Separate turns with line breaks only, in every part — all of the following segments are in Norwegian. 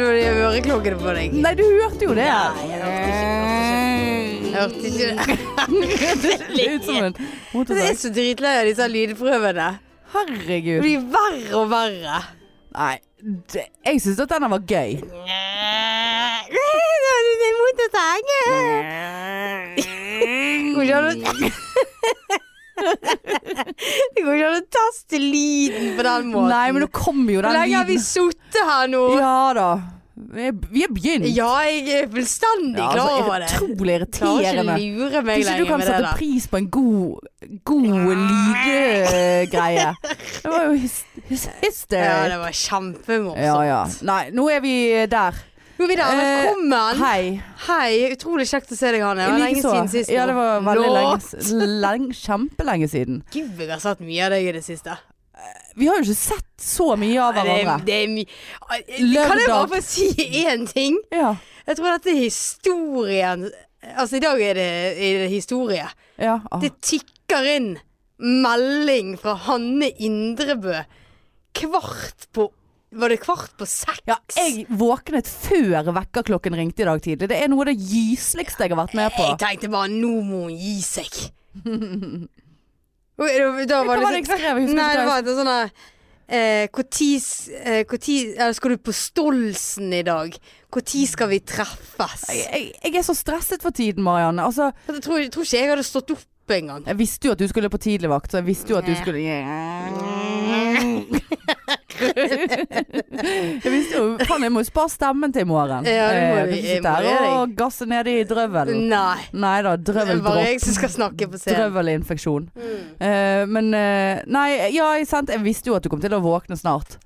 jogge det på deg.
Nei, du hørte jo det.
Nei, jeg hørte ikke, jeg hørte ikke.
Eh, det sånn. ser ut som en
Jeg er
motorsag.
så dritlei av disse lydprøvene. Det
Herregud.
blir verre og verre.
Nei, det, jeg syns at denne var gøy.
Det er en motorsag. Det går ikke an å Det går ikke an å taste lyden på den måten.
Nei, men nå kommer jo
Hvor
den
lenge har vi
lyden.
sittet her nå?
Ja da. Vi er- vi har begynt.
Ja, jeg er fullstendig
Ja,
klar
altså,
over det.
Utrolig
Klarer
irriterende.
ikke lure meg
Hvis ikke du
lenger
kan
med det
sette
der.
pris på en god, god lydgreie. Det var jo hys hys
Ja,
hysterisk.
det var kjempemorsomt.
Eh, Ja, ja. Nei, nå er vi der.
Jo, Vidar,
Eh,
velkommen.
Hei.
Hei, utrolig kjekt å se deg, Hanne. Det var lenge
Likeså.
siden sist. nå.
Ja, det var veldig
Nå,
lenge, s- lenge Kjempelenge siden.
Gud, jeg har sett mye av deg i det siste.
Vi har jo ikke sett så mye av
Nei, det,
hverandre.
det er mye Kan jeg bare
Lørdag.
få si én ting?
Ja.
Jeg tror dette er historien Altså, i dag er det, er det historie.
ja. Ah.
Det tikker inn melding fra Hanne Indrebø kvart på Var det kvart på seks?
Ja, jeg våknet før vekkerklokken ringte i dag tidlig. Det er noe av det gysligste jeg har vært med på.
Jeg tenkte bare nå må hun gi seg. Og da- da
Hva
var
var
det
det jeg skrev? Jeg husker
Nei,
ikke
det
hva
var et sånn der eh, hvor tid- eh, hvor tid- eller Skal du på Stolsen i dag? Når skal vi treffes?
jeg- jeg, jeg er så stresset for tiden, Marianne. Altså,
Jeg tror, jeg tror ikke jeg hadde stått opp engang.
jeg visste jo at du skulle på tidligvakt, så jeg visste jo at du skulle Jeg visste jo Faen, jeg må jo spare stemmen til i morgen.
Ja, det må
Eh,
du-
kan ikke
jeg
sitte
må
her
det, jeg.
og gasse ned i drøvelen.
Nei.
Nei da,
Det er bare jeg
drøveldropp.
som skal snakke på scenen.
Drøvelinfeksjon.
Mm.
Eh, men eh, Nei, ja, jeg, sant, jeg visste jo at du kom til å våkne snart.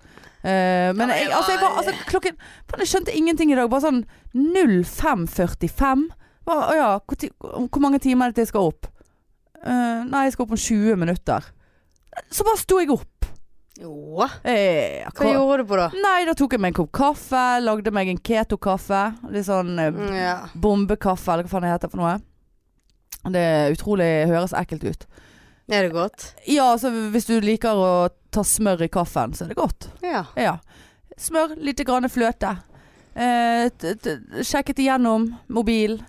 Eh, men
Ja,
jeg,
jeg
altså, jeg var,
var-
altså, klokken faen, Jeg skjønte ingenting i dag. Bare sånn 05.45. Hva- Å ja, hvor, ti- hvor mange timer er det til jeg skal opp? Eh, nei, jeg skal opp om 20 minutter. Så bare sto jeg opp.
Jo.
Eh,
Hva gjorde du på da?
Nei, da tok jeg meg en kopp kaffe. Lagde meg en keto-kaffe. Litt sånn eh,
Ja.
bombekaffe, eller hva faen det heter for noe. Det er utrolig høres ekkelt ut.
Er det godt?
Ja, altså hvis du liker å ta smør i kaffen, så er det godt.
Ja.
Ja. Smør, lite grann fløte. Eh, t t sjekket igjennom mobil.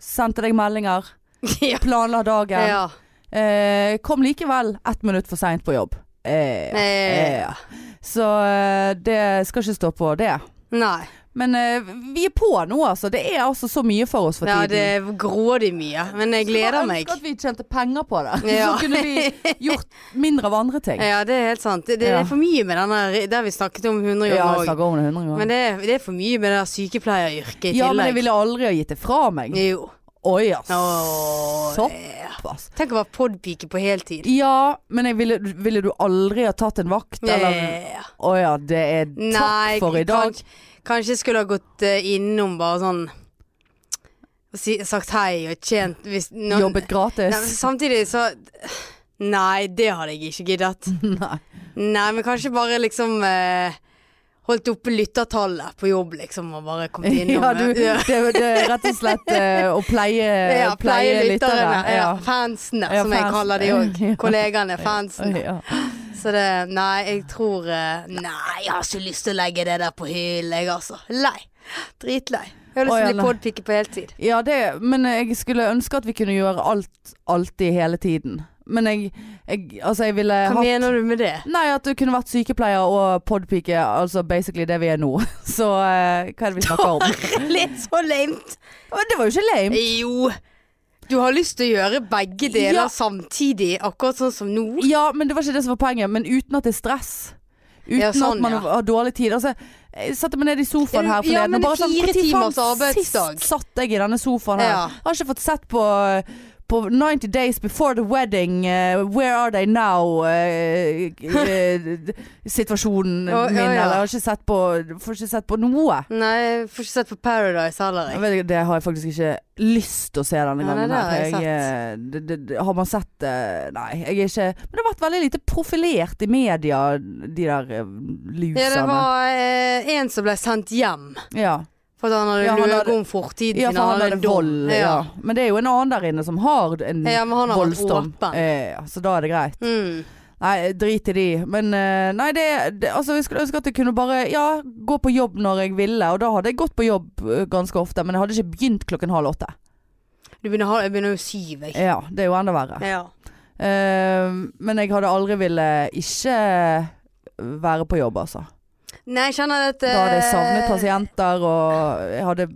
Sendte deg meldinger.
ja.
Planla dagen.
ja.
Eh, kom likevel ett minutt for seint på jobb. Eh, ja. eh,
Eh,
ja. Så eh, det skal ikke stå på, det.
Nei.
Men eh, vi er på nå, altså. Det er altså så mye for oss for
Ja, det
tiden.
er grådig mye, men jeg gleder meg.
Skulle bare ønske at vi tjente penger på det.
Ja.
Så kunne vi gjort mindre av andre ting.
Ja, det er helt sant. Det, det
Ja.
er for mye med den der Det har vi snakket om 100
Ja,
ganger
jeg
òg.
snakker om det 100 ganger.
Men det, er- det er for mye med det der sykepleieryrket i
Ja, men
tillegg.
jeg ville aldri ha gitt det fra meg.
Jo.
Oi, ass.
Åh,
Såpass.
Tenk å være podpike på heltid.
Ja, men jeg ville, ville du aldri ha tatt en vakt, eller
Eh,
Å ja, det er takk
Nei,
for i dag.
Kanskje, kanskje jeg skulle ha gått eh, innom bare sånn og si, Sagt hei og tjent hvis noen-
Jobbet
Nei, men
gratis.
samtidig så Nei, det hadde jeg ikke giddet.
Nei.
Nei, men kanskje bare liksom eh, Holdt oppe lyttertallet på jobb, liksom, og bare kommet innom. eh.
Ja, du, det,
ja.
det er rett og slett eh, å pleie,
Ja,
pleie lyttere.
Ja. Fansene,
Ja,
som jeg
fans-
kaller de òg.
Ja.
Kollegene,
Oi,
fansene.
ja.
Så det Nei, jeg tror eh, Nei, jeg har ikke lyst til å legge det der på hyllen, jeg, altså. Lei. Dritlei. Jeg har lyst til
Å,
å
ja,
bli
nei.
podpike på heltid.
Ja, det, men jeg skulle ønske at vi kunne gjøre alt alltid hele tiden. Men jeg, jeg Altså, jeg ville
Hva
hatt
mener du med det?
Nei, at du kunne vært sykepleier og podpike, altså basically det vi er nå. Så eh, hva er det vi snakker om?
Litt så lamet.
Men det var jo ikke lame.
Jo. Du har lyst til å gjøre begge deler
Ja.
samtidig, akkurat sånn som nå.
Ja, men det var ikke det som var poenget. Men uten at det er stress. Uten
Ja, sånn,
at man
ja.
har dårlig tid. Altså, jeg satte meg ned i sofaen
Ja,
her forleden
men
og bare
fire
"Hvor tid faen
timers arbeidsdag."
Sist satt jeg i denne sofaen her.
Ja.
Jeg har ikke fått sett på på 90 Days Before The Wedding, eh, Where Are They Now-situasjonen
Ja, ja,
min.
ja.
Eller jeg har ikke sett på, får ikke sett på noe.
Nei, jeg får ikke sett på Paradise heller,
Jeg
jeg.
vet, ikke, det har jeg faktisk ikke lyst til å se denne
Nei, nei,
gangen.
det
her,
har
for
jeg sett.
eh, det, det, det, har man sett det? Nei, jeg er ikke Men det har vært veldig lite profilert i media, de der eh, lusene.
Ja, det var eh, en som ble sendt hjem
ja.
for at han hadde
Ja, han
løyet
hadde-
om fortiden
ja,
sin.
for han hadde
dom.
vold. Ja.
Ja.
Men det er jo en annen der inne som har en
Ja, men han har vært
voldsdom.
åpen.
Eh, ja, så da er det greit.
Mm.
Nei, drit i de. Men eh, nei, det, det Altså, jeg skulle ønske at jeg kunne bare Ja, gå på jobb når jeg ville, og da hadde jeg gått på jobb eh, ganske ofte, men jeg hadde ikke begynt klokken halv åtte.
Du begynner, ha- jeg begynner jo syv, jeg.
Ja, det er jo enda verre.
Ja.
Eh, men jeg hadde aldri ville ikke være på jobb, altså.
Nei, jeg kjenner at
Da hadde jeg savnet
eh,
pasienter, og jeg hadde,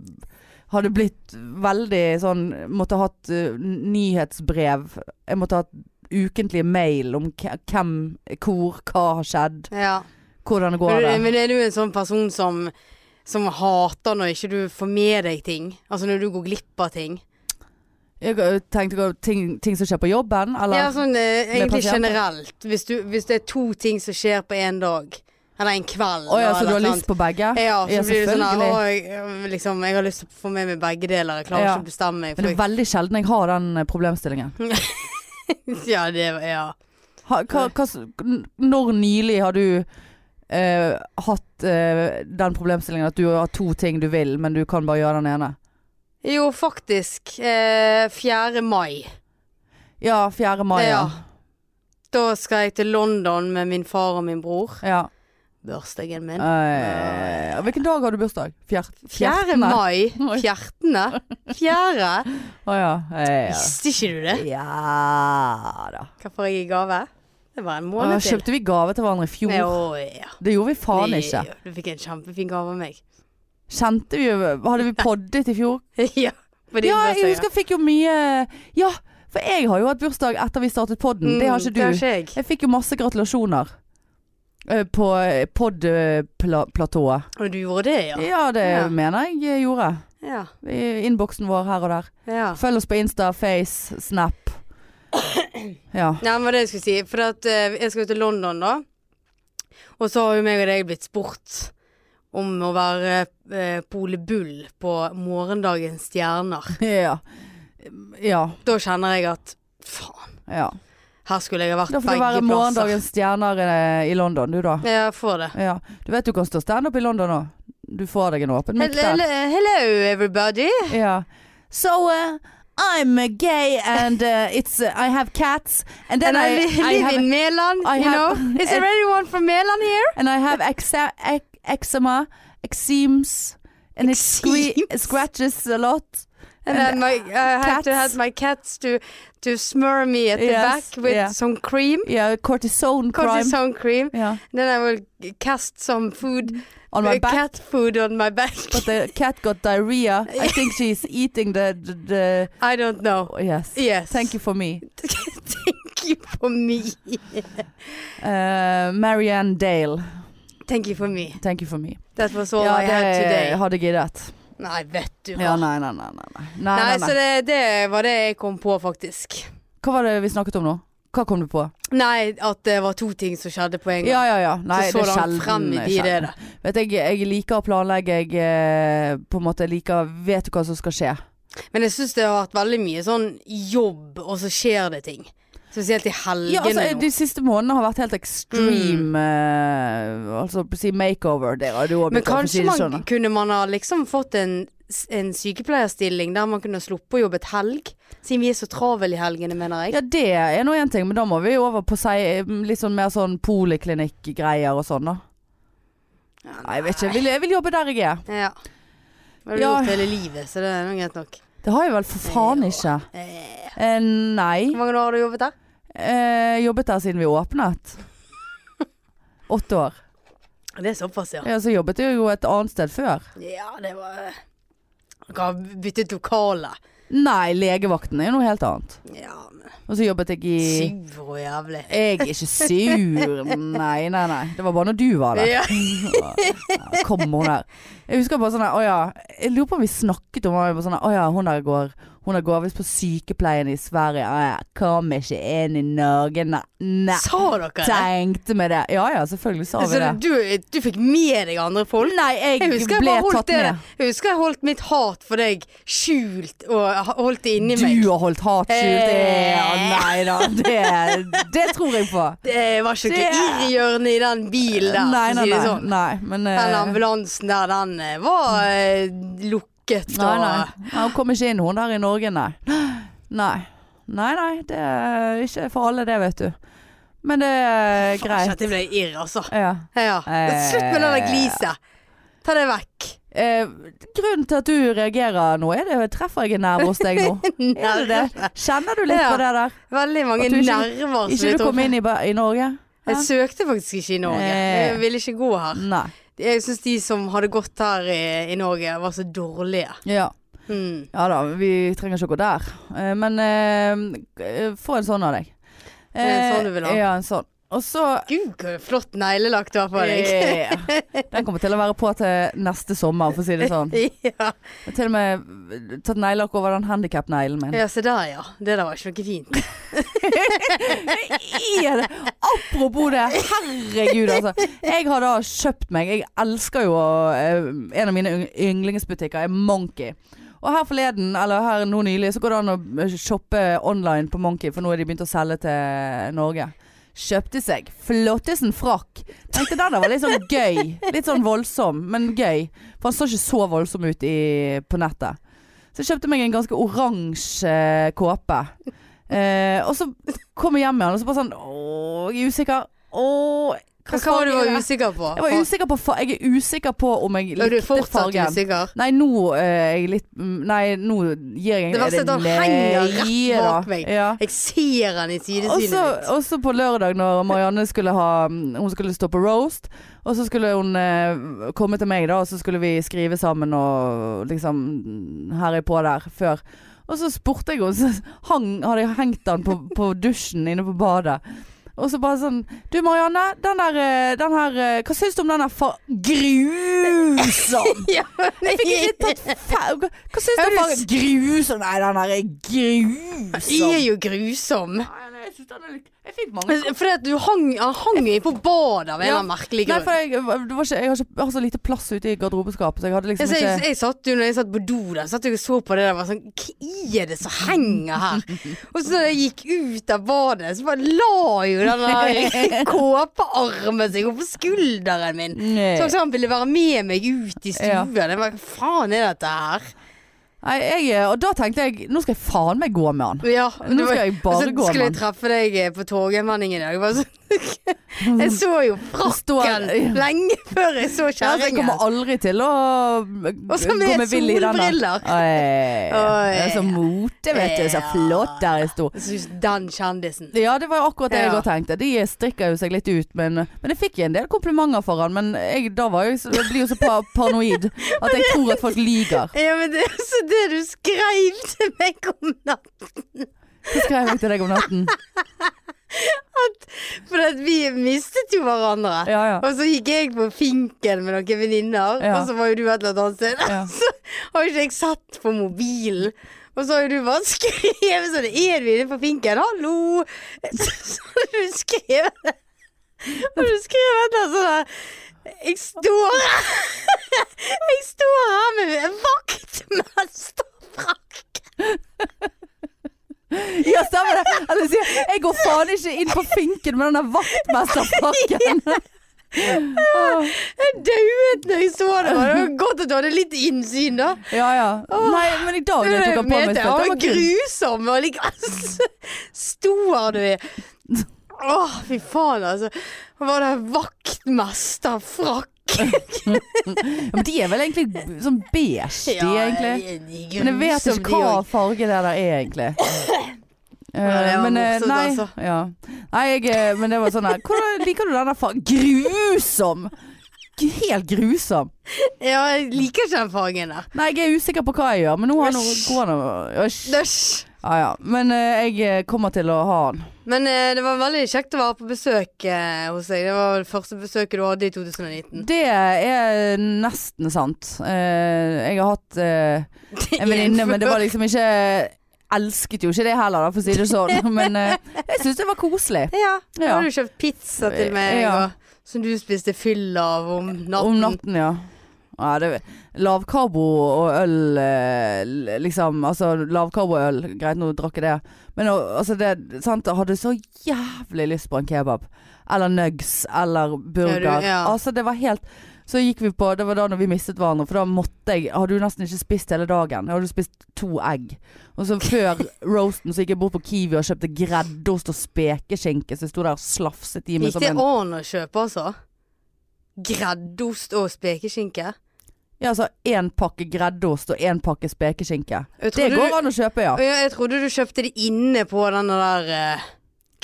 hadde blitt veldig sånn Måtte hatt eh, nyhetsbrev. Jeg måtte hatt ukentlige mail om k- hvem, hvor, hva har skjedd,
Ja.
hvordan det går.
Men, men er du en sånn person som, som hater når ikke du får med deg ting? Altså når du går glipp av ting?
Jeg tenkte på ting, ting som skjer på jobben, eller?
Ja, sånn eh, egentlig
pasienter?
generelt. Hvis, du, hvis det er to ting som skjer på én dag, eller en kveld
Å ja,
eller
så du har
et eller
lyst på begge?
annet. Ja, så
Ja,
blir det sånn her,
selvfølgelig.
«Å, jeg, liksom, jeg har lyst til å få med meg begge deler. Jeg klarer
Ja.
ikke å bestemme meg.
Men det
For
er veldig sjelden jeg har den eh, problemstillingen.
jeg, ja, det, ja.
Ha, hva, hva, s- n- når nylig har du eh, hatt eh, den problemstillingen at du har to ting du vil, men du kan bare gjøre den ene?
Jo, faktisk. Eh, 4. mai.
Ja, 4. mai. Ja.
Da skal jeg til London med min far og min bror.
ja.
Bursdagen min.
Eh, hvilken dag har du bursdag? Fjert,
4.
fjertende?
mai.
Oi.
Fjertende. Fjerde.
Å ja. Eh,
Visste ikke du det?
ja. ja da.
Hva får jeg i gave? Det var en
Å,
måned til.
kjøpte vi gave til hverandre i fjor?
Nei, å, ja.
Det gjorde vi faen
Nei,
ikke.
Du fikk en kjempefin gave av meg.
Kjente vi jo Hadde vi poddet i fjor?
ja. På din
Ja, jeg
bursdag,
husker jeg fikk jo mye Ja, for jeg har jo hatt bursdag etter vi startet podden. det har
Mm,
ikke
Det
du.
har ikke jeg.
Jeg fikk jo masse gratulasjoner. eh, På pod-platået.
Og du gjorde det, ja.
Ja, det
Ja.
mener jeg jeg gjorde.
Ja.
I innboksen vår her og der.
ja.
Følg oss på Insta, Face, Snap. Ja.
Nei, men det jeg skulle si, for at eh, jeg skal jo til London da, og så har jo meg og deg blitt spurt om å være eh, Pole Bull på morgendagens stjerner.
Ja. Ja.
Da kjenner jeg at faen,
ja.
her skulle jeg ha vært
Da får du være
begge plasser.
morgendagens stjerner eh, i London, du da.
Ja, jeg får det.
Ja. Du vet du kan stå standup i London òg. Du får deg en åpen mic
Hello,
der.
hello everybody.
Ja. So uh, I'm uh, gay and uh, it's uh, I have cats and then
And I,
I,
li-
I
live
have
in Meland,
I
you
have-
know. Is there anyone from Meland here?
and I have exa- ec- eczema, eczemes and it sque-
Eczemes.
scratches a lot.
And, then my, I have to
cats.
have my cats to, to smear me at the
Yes,
back with
yeah.
some cream.
Yeah, cortisone crime.
Cortisone cream.
Yeah,
Then I will g- cast some food,
on my
uh,
back.
cat food on my back.
But the cat got diarrhea. I think she's eating the, the, the
I don't know.
oh, yes.
Yes.
Thank you for me.
Thank you for me.
Uh, Marianne Dale.
Thank you for me.
Thank you for me.
That was all
ja,
I had today.
det hadde jeg giddet.
Nei, vet du hva.
Ja, nei, nei, nei. nei, nei. nei,
Nei,
nei,
så
nei.
det, det var det jeg kom på, faktisk.
Hva var det vi snakket om nå? Hva kom du på?
Nei, at det var to ting som skjedde på en gang.
Ja, ja, ja. Nei,
så så
det er
langt
sjelden.
frem i tid er
sjelden.
det.
Vet jeg, jeg liker å planlegge. Jeg eh, på en måte liker Vet du hva som skal skje?
Men jeg syns det har vært veldig mye sånn jobb, og så skjer det ting. Spesielt i helgene
Ja, altså,
nå.
de siste månedene har vært helt
Mm.
ekstreme eh, Altså på å si makeover. Det har du òg
Men
blitt, for å
kanskje
si det
man,
sånn. da.
kunne man ha liksom fått en, en sykepleierstilling der man kunne ha sluppet å jobbe et helg? Siden vi er så travel i helgene, mener jeg.
Ja, det er nå én ting, men da må vi over på si, litt sånn mer sånn poliklinikkgreier og sånn, da. Nei, jeg vet ikke. Jeg vil, jeg vil jobbe der jeg er.
Ja. Det har du
Ja.
gjort hele livet, så det er nå greit nok.
Det har jeg vel for faen ikke.
Eh,
Eh, nei.
Hvor mange år har du jobbet der?
Eh, jobbet der siden vi åpnet. Åtte år.
Det er såpass, ja.
Ja, så jobbet jeg jo et annet sted før.
Ja, det var eh, Dere har byttet lokale.
Nei, legevakten er jo noe helt annet.
Ja, men
Og så jobbet jeg i
sur og jævlig.
Jeg er ikke sur. Nei, nei, nei. Det var bare når du var der.
Ja.
Ja, Kom hun der. Jeg husker bare sånn her, Å ja. Jeg lurer på om vi snakket om det. Sånn her, Å ja, hun der går Hun der går visst på sykepleien i Sverige. Å ja, kom ikke inn i Norge. Nei. nei.
Sa dere det?
Tenkte meg det. Ja ja, selvfølgelig sa vi
Så
det.
Altså, du, du fikk med deg andre folk?
Nei, jeg,
Jeg husker jeg,
ble
bare holdt
tatt
det,
med.
jeg husker jeg holdt mitt hat for deg skjult og ha- holdt det inni meg. Eh.
Du har holdt hat skjult. Det- ja, Nei da, det, det tror jeg på.
Det var ikke
Det-
noe irrhjørne i den bilen der,
nei,
for å
nei,
si det
nei,
sånn.
nei, men eh,
Den ambulansen der, den eh, var eh, lukket
nei,
og
nei. Nei, Hun kom ikke inn, hun der i Norge, nei. Nei, nei, nei det er ikke for alle det, vet du. Men det er
Faen,
greit.
Dette ble irr, altså.
Ja.
Ja.
Eh.
Slutt med det der gliset. Ta det vekk.
Eh, grunnen til at du reagerer nå, er det treffer jeg en nerve hos deg nå? Er det det? Kjenner du litt
Ja.
på det der?
Veldig mange
At du ikke-
nerver som
Ikke
er
du kom
truffet.
inn i, ba- i Norge? Hæ?
Jeg søkte faktisk ikke i Norge.
Eh.
Jeg ville ikke gå her.
Nei.
Jeg syns de som hadde gått her i, i Norge, var så dårlige.
Ja.
Mm.
ja da, vi trenger ikke å gå der. Eh, men eh, eh, få en sånn av deg.
Det er en sånn du vil ha.
Ja, en sånn. Og så
Gud, hvor flott neglelakk du har på
Eh.
deg.
Ja. Den kommer til å være på til neste sommer, for å si det sånn.
ja.
Jeg har til og med eh, tatt neglelakk over den handikap-neglen min.
ja, se der, ja. Det der var ikke noe fint.
er det? Apropos det, herregud altså. Jeg har da kjøpt meg, jeg elsker jo eh, En av mine yng- yndlingsbutikker er Monkey. Og her forleden, eller her nå nylig, så går det an å eh, shoppe online på Monkey, for nå er de begynt å selge til Norge. Kjøpte seg flottesen frakk. Tenkte den der var litt sånn gøy. Litt sånn voldsom, men gøy. For han så ikke så voldsom ut i, på nettet. Så jeg kjøpte meg en ganske oransje eh, kåpe. Eh, og så kom jeg hjem med han, og så bare sånn Åh, jeg er usikker. Åh,
Men hva var du
farge er
var
det?
usikker på?
Jeg var usikker på fa Jeg er usikker på om jeg
Og- og du er
likte
fortsatt
fargen.
usikker?
Nei, nå eh, er jeg litt mm, Nei, nå gir jeg
Det verste er at han henger rett
nøye,
bak
da.
meg.
Ja.
Jeg ser den i
Og
sidesynet
så,
mitt.
og så på lørdag når Marianne skulle ha mm, Hun skulle stå på roast Og så skulle hun eh, komme til meg da Og så skulle vi skrive sammen og liksom Her er på der før Og så spurte jeg henne Så hang, hadde jeg hengt den på, på dusjen inne på badet og så bare sånn Du Marianne, den der, eh, den her eh, Hva synes du om den der fa... Grusom!
Ja, men
Fikk ikke tatt fa... Hva synes
Er
du om
du
fa...
s-
Grusom? Nei, den der er grusom
Jeg er jo grusom.
Nei, nei, jeg synes den er litt Jeg fikk mange
Men Fordi at du hang, han hang jo på badet av en
Ja.
eller annen merkelig
Nei,
grunn.
for jeg, det var ikke, jeg, har ikke, jeg har så lite plass ute i garderobeskapet, så jeg hadde
Jeg,
liksom
jeg,
ikke
jeg, satt jo når jeg satt på do der, satt jeg og så på det der og var sånn Hva er det som henger her? Og så da jeg gikk ut av badet, så bare la jo den der kåpearmen seg oppå skulderen min.
Nei.
Sånn som han ville være med meg ut i
Ja.
stuen. Jeg bare, Hva faen er dette her?
Nei, jeg, eh, Og da tenkte jeg Nå skal jeg faen meg gå med han.
Ja,
Nå
det var-
skal jeg bare
og så
gå,
skulle jeg
mann.
treffe deg eh, på Torgallmenningen i dag. Jeg, bare sånn- jeg så jo frakken
Står-
lenge før jeg så
Ja, altså, jeg
kjerringen.
kommer aldri til å
Og så med
vill i den der.
solbriller.
Oi.
Oi.
Det er så mote, vet du. Så
Ja.
flott der jeg sto.
Jeg synes Den kjendisen.
Ja, det var jo akkurat det jeg
Ja.
òg tenkte. De strikker jo seg litt ut, men, men jeg fikk en del komplimenter for han. Men jeg, da var jeg, så- jeg blir jo så pa- paranoid at jeg tror at folk lyver.
Ja, men det, så det du skrev til meg om natten
Hva skrev jeg til deg om natten?
For at vi mistet jo hverandre.
Ja, ja.
Og så gikk jeg på finken med noen venninner,
Ja.
og så var jo du et eller annet sted.
Ja.
Så har ikke jeg sett på mobilen. Og så har jo du bare skrevet sånn Er du inne på finken? Hallo! Så, så har du skrevet Og du skrev et eller annet sånn der, Jeg står Jeg står her med en vaktmesterfrakk.
Ja, stemmer det. Eller sier jeg går faen ikke inn på finken med den der vaktmesterfrakken. Åh,
Jeg dauet når jeg så det. og Det var godt at du hadde litt innsyn, da.
Ja, ja. Nei, men i dag når jeg tok han på meg
Mete,
spett,
Han
det
var
var kul.
grusom og like altså, Stor du er. Å, fy faen, altså. Han var der vaktmesterfrakk.
Ja, Men de er vel egentlig sånn beige, de egentlig.
egentlig.
Men jeg vet ikke hva farge det der er, egentlig. Eh,
Ja, det var
men, eh,
morsomt,
nei,
altså.
ja. nei jeg, eh, men det var sånn her Hvordan liker du denne fargen? Grusom! Helt grusom.
Ja, jeg liker ikke den fargen der.
Nei, jeg er usikker på hva jeg gjør, men nå har noe gående
Døsj.
Ja ja. Men eh, jeg eh, kommer til å ha den.
Men eh, det var veldig kjekt å være på besøk eh, hos deg. Det var vel det første besøket du hadde i 2019.
Det er nesten sant. Eh, jeg har hatt eh, en venninne, men det var liksom ikke Elsket jo ikke det heller, da, for å si det sånn. Men eh, jeg syns det var koselig.
Ja. Da
Ja.
hadde du kjøpt pizza til meg,
Ja.
og, som du spiste fyll av om natten.
Om natten, ja. ja det, lavkarbo og øl, eh, l- liksom. Altså lavkarboøl, greit nå drakk jeg det. Men og- altså, det, sant, jeg hadde så jævlig lyst på en kebab. Eller nugs, eller burger.
Ja, du- ja.
Altså det var helt Så gikk vi på, det var da når vi mistet hverandre, for da måtte jeg Hadde jo nesten ikke spist hele dagen. Jeg hadde jo spist to egg. Og så før roasten så gikk jeg bort på Kiwi og kjøpte greddost og spekeskinke, så jeg sto der og slafset i meg
Gikk
som
det
en
an å kjøpe, altså? Greddost og spekeskinke?
Ja, altså én pakke greddost og én pakke spekeskinke.
Jeg
Det
trodde du-
går an å kjøpe, ja.
Å ja, jeg trodde du kjøpte det inne på den der uh,
Å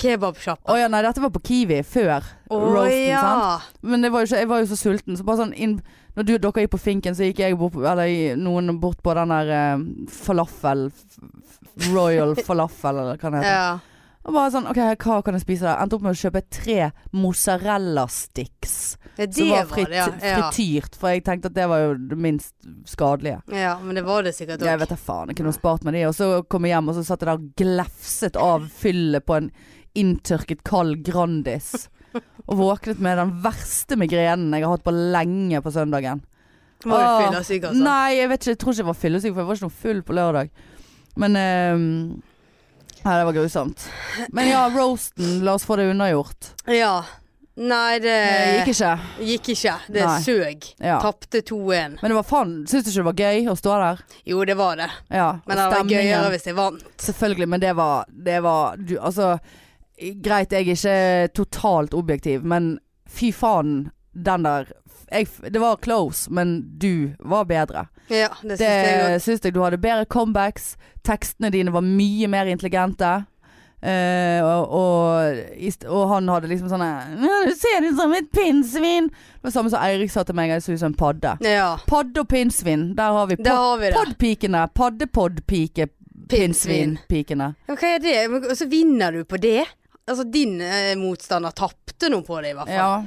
kebabsjappa.
ja, nei, dette var på Kiwi før roasten, sant? Men det var jo ikke, jeg var jo så sulten, så bare sånn inn, Når du, dere gikk på finken, så gikk jeg bort, på- eller i- noen bort på den der eh, falafel f- f- Royal falafel, eller hva det heter.
Ja.
Og bare sånn, ok, hva kan jeg spise da? Endte opp med å kjøpe tre mozzarella sticks.
Ja, det
Som
var,
var fritt,
det, ja. ja.
frityrt, for jeg tenkte at det var jo det minst skadelige.
ja. Men det var det sikkert
Jeg
òg.
vet da faen, jeg kunne jo spart meg det. Og så kom jeg hjem, og så satt jeg der og glefset av fyllet på en inntørket kald Grandis. Og våknet med den verste migrenen jeg har hatt på lenge på søndagen.
Var du
Åh,
fyllesyk, altså?
Nei, jeg vet ikke, jeg tror ikke jeg var fyllesyk, for jeg var ikke noe full på lørdag. Men ehm, Nei, det var grusomt. Men ja, roasten. La oss få det unnagjort.
Ja. Nei, det
Det gikk ikke.
gikk ikke. Det
Nei.
søg.
Ja.
Tapte 2-1.
Men det var faen Syns du ikke det var gøy å stå der?
Jo, det var det.
Ja.
Men
og
det hadde vært
stemningen.
gøyere hvis jeg vant.
Selvfølgelig, men det var, det var du, Altså, greit, jeg er ikke totalt objektiv, men fy faen, den der jeg, Det var close, men du var bedre.
Ja, det syns jeg òg.
Det syns jeg du hadde bedre comebacks. Tekstene dine var mye mer intelligente. Eh, og, og, i st- og han hadde liksom sånne «Ja, Du ser ut som et pinnsvin! Det var samme som Eirik sa til meg, jeg så ut som en padde.
Ja.
Padde og pinnsvin, der har vi
Der har vi det.
Poddpikene. Paddepoddpike.
Pinnsvin.
Pinnsvinpikene.
Ja, Men hva er det? Men- Og så vinner du på det? Altså, din eh, motstander tapte noe på det, i hvert fall.
Ja.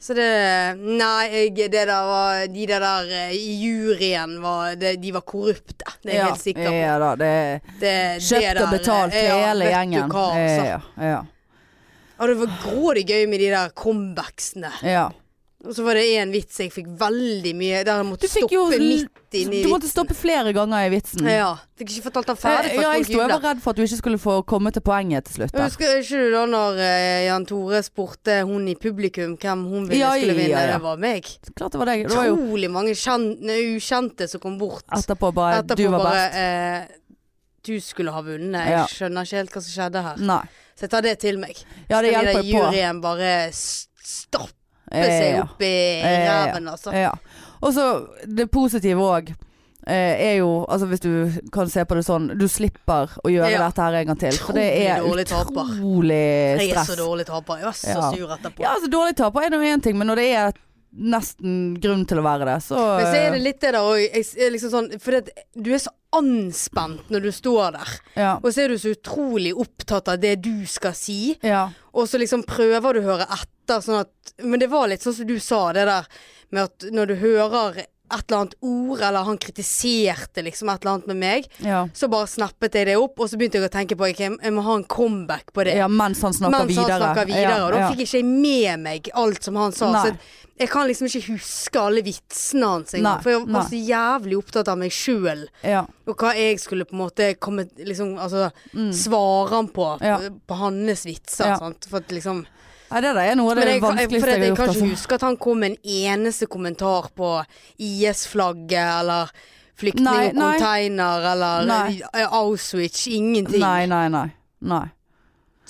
Så det Nei, jeg, det der var De der der eh, i juryen var det, De var korrupte. Det er jeg
ja.
helt sikker på.
Ja da, det er
Det, det
kjøpt
der,
og betalt
eh, ja,
hele
vet
gjengen.
Du hva, altså.
ja, ja,
Ja, det var grådig gøy med de der comebacksene.
ja.
Og så var det én vits jeg fikk veldig mye Der jeg
Du
måtte
fikk
stoppe
jo
midt inni
Du måtte stoppe flere ganger i vitsen.
Ja. Fikk ikke fortalt den ferdig.
Eh,
for
ja,
at
jeg,
folk
sto, jeg
jublet.
var redd for at du ikke skulle få komme til poenget til slutt.
Jeg
der.
Husker ikke du da når eh, Jan Tore spurte hun i publikum hvem hun ville
Ja,
skulle vinne?
ja, ja.
Det var meg.
Klart det var deg. Det var jo
Utrolig mange kjen- nei, ukjente som kom bort.
etterpå bare
Etterpå
Du var
bare
best.
eh, Du skulle ha vunnet.
Ja.
Jeg skjønner ikke helt hva som skjedde her.
Nei.
Så jeg tar det til meg.
Ja, det
Skal de
hjelper
der
jo på.
juryen bare stappe
Eh,
seg
ja.
opp i
Eh, ja.
ræven, altså.
Ja. Og så det positive òg er jo Altså hvis du kan se på det sånn, du slipper å gjøre
Ja.
dette her en gang til. For det er
Utrolig dårlig taper.
utrolig
Jeg er så
stress.
dårlig taper. Jeg var så
Ja.
sur etterpå.
Ja, altså dårlig taper er nå én ting, men når det er nesten grunn til å være det, så
Men så er det litt det der òg. Liksom sånn, for det, du er så anspent når du står der.
ja.
Og så er du så utrolig opptatt av det du skal si.
ja.
Og så liksom prøver du å høre etter, sånn at Men det var litt sånn som du sa, det der med at når du hører et eller annet ord, eller han kritiserte liksom et eller annet med meg,
Ja.
så bare snappet jeg det opp, og så begynte jeg å tenke på ok, jeg må ha en comeback på det.
ja, mens han snakker
Mens han
videre.
snakka videre, og da
ja.
fikk jeg ikke med meg alt som han sa.
Nei.
Så jeg kan liksom ikke huske alle vitsene hans
Nei,
engang, for jeg
nei.
var så jævlig opptatt av meg sjøl.
ja.
Og hva jeg skulle på en måte komme, liksom, altså, svare han på,
Mm. Ja.
på, på hans vitser.
Ja.
Sant? For at liksom
Nei, det der er noe av
Men
det
jeg, kan- jeg, for
vanskeligste
at
jeg har
jeg kan
gjort.
ikke
Altså.
huske at han kom med en eneste kommentar på IS-flagget eller flyktning
Nei,
og
nei.
container eller
Nei.
eh, Auschwitz. Ingenting.
Nei, nei, nei. nei.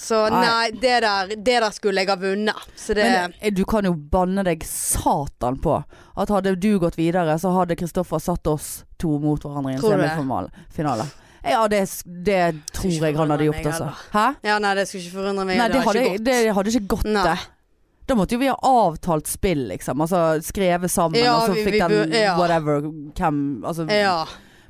Så
Nei.
nei, det der, det der skulle jeg ha vunnet. Så det
Men eh, du kan jo banne deg satan på at hadde du gått videre, så hadde Kristoffer satt oss to mot hverandre i en
Tror du det?
semifinale. Ja, det, s- det tror
ikke
jeg han hadde
forundre
gjort,
meg
altså.
heller.
Hæ?
Ja, nei, det skulle ikke forundre meg.
Nei, det
har
hadde,
ikke gått.
det hadde ikke gått,
Nei.
det. Da måtte jo vi ha avtalt spill, liksom. Altså skrevet sammen,
Ja,
og så
vi-
fikk
vi
den
bør- ja.
whatever hvem altså,
Ja.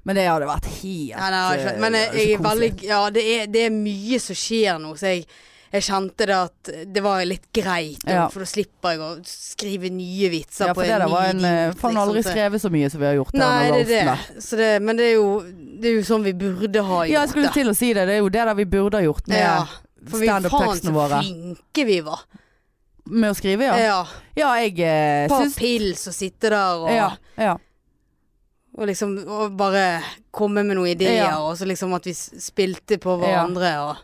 Men det hadde vært helt
Nei, nei, jeg har
eh,
ikke, men jeg, jeg er
ikke
veldig
koselig.
Ja, det er, det er mye som skjer nå, så jeg, jeg kjente det at det var litt greit, nå,
Ja.
for da slipper jeg å skrive nye vitser
Ja,
på
for
en
det der var en
ny
eh,
idiot,
Faen, aldri
liksom.
skrevet så mye som vi har gjort.
Nei,
denne
det er
roasten der.
det. Så det. Men det er, jo, det er jo sånn vi burde ha gjort
Ja, jeg skulle
det.
til å si det. Det er jo det der vi burde ha gjort med
ja, for vi faen
standup-tekstene
så
våre.
flinke vi var.
Med å skrive,
Ja.
ja. Ja, jeg eh,
Ta
syns
pils og sitte der og,
ja, ja.
og liksom og bare komme med noen ideer,
Ja.
og så liksom at vi s- spilte på
Ja.
hverandre og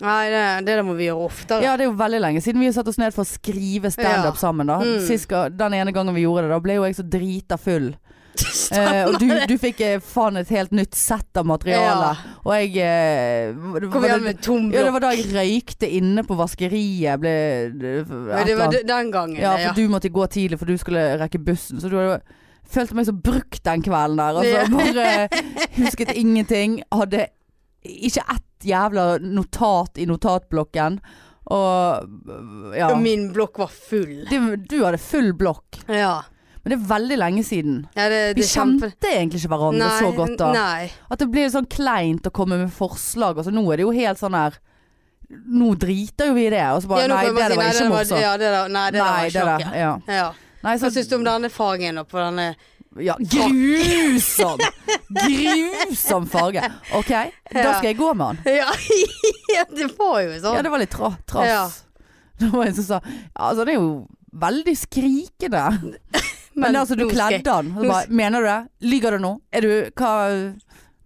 Nei, det, det der må vi gjøre oftere.
Ja, det er jo veldig lenge siden vi har satt oss ned for å skrive standup
Ja.
sammen, da.
Mm.
Sist ga- den ene gangen vi gjorde det, da ble jo jeg så drita full. Eh,
Stemmer
og du,
det.
du fikk eh, faen et helt nytt sett av materiale. Og jeg eh, var det-
Kom igjen med tom
ja, det
blokk.
var da jeg røykte inne på vaskeriet. Ble, det, et
Ja, det
eller
var
annet.
den gangen.
Ja,
Ja,
for du måtte gå tidlig, for du skulle rekke bussen. Så du hadde følte meg så brukt den kvelden der.
Ja.
Altså, bare husket ingenting. Hadde ikke ett jævla notat i notatblokken. Og ja.
Og min blokk var full.
Du, du hadde full blokk.
Ja.
Men det er veldig lenge siden.
ja det,
Vi
det er kjempe...
kjente egentlig ikke hverandre så godt da.
Nei.
At det blir sånn kleint å komme med forslag. Altså, nå er det jo helt sånn her Nå driter jo vi i det. Og så bare
Ja, nå
Nei,
kan
det
jeg bare
der
si,
var
nei,
ikke
det
morsomt.
Ja, det der, nei, det der var
Nei, det
ikke
der.
noe.
Ja.
Ja.
Nei,
Hva
så
syns du om denne fargen og på denne
Ja, grusom! grusom farge. Ok, da skal jeg gå med han.
Ja, det var jo sånn.
Ja, det var litt tra trass.
Ja.
Det var en som sa ja, altså, det er jo veldig skrikende. Men, altså, du
nå skal jeg-
kledde han. Og så
nå
bare, Mener du det? Lyver du nå? Er du hva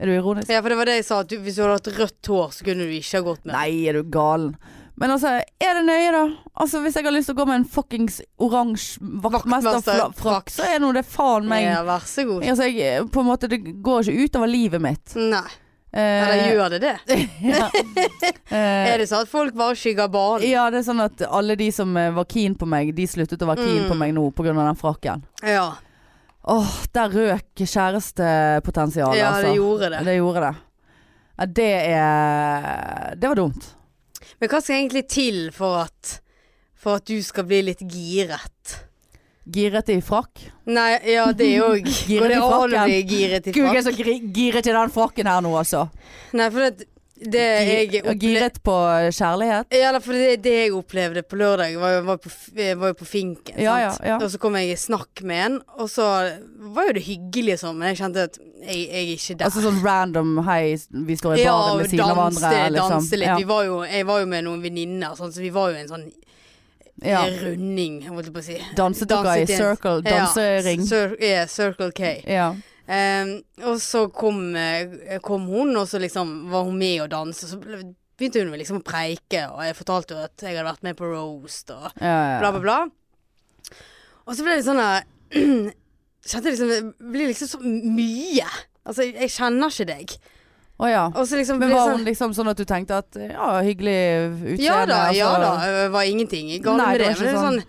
Er du ironisk?
Ja, for det var det jeg sa, at du, hvis du hadde hatt rødt hår, så kunne du ikke ha gått med.
Nei, er du galen? Men altså, er det nøye, da? Altså, Hvis jeg har lyst til å gå med en fuckings oransje
Vaktmesterfrakk.
vaktmesterfrakk, så er nå det faen meg
Ja, vær så god.
Altså, jeg, på en måte, Det går ikke utover livet mitt.
Nei.
Eh,
Eller gjør det det?
eh,
Er det sånn at folk bare skygger banen?
Ja, det er sånn at alle de som eh, var keen på meg, de sluttet å være
Mm.
keen på meg nå pga. den frakken.
Ja.
Åh, der røk kjærestepotensialet,
ja,
altså.
det gjorde det.
det gjorde det. Ja, det er Det var dumt.
Men hva skal egentlig til for at, for at du skal bli litt giret?
Giret i frakk.
Nei, ja, det òg.
Giret
Går det
i
an å
frakken.
bli giret i
Gud, jeg
frakk?
er så gri- giret i den frakken her nå, altså.
Nei, for det, det Eh, jeg
Og
opplevde
giret på kjærlighet.
ja, nei, for det, det jeg opplevde på lørdag, var, jo- var, på, f- eh, var jo på finken.
Ja,
sant?
ja, ja.
Og så kom jeg i snakk med en, og så var jo det hyggelig og sånn, men jeg kjente at jeg, jeg er ikke der.
Altså sånn random hei, vi står i
og
baren ved siden av hverandre. liksom.
danse litt.
Ja,
Vi var jo, jeg var jo med noen venninner, sånn, så vi var jo en sånn
ja.
runding, holdt jeg på å si.
Dansedukker i
Danset i en-
circle, dansering.
Ja, cir ja, Circle K.
Ja.
Ehm, og så kom, eh, kom hun, og så liksom var hun med og danse. Så ble- begynte hun liksom å preike, og jeg fortalte jo at jeg hadde vært med på roast og
Ja, ja,
bla, bla, bla. Og så ble det sånn der Kjente jeg liksom Det blir liksom så mye. Altså, jeg, jeg kjenner ikke deg.
Å ja.
Og så liksom blir
Men
det
var
sånn,
hun liksom sånn at du tenkte at ja, hyggelig utseende?
Ja da, ja
altså.
da. Eh, Det var ingenting galt
Nei,
med
det
det. Men
var
det er sånn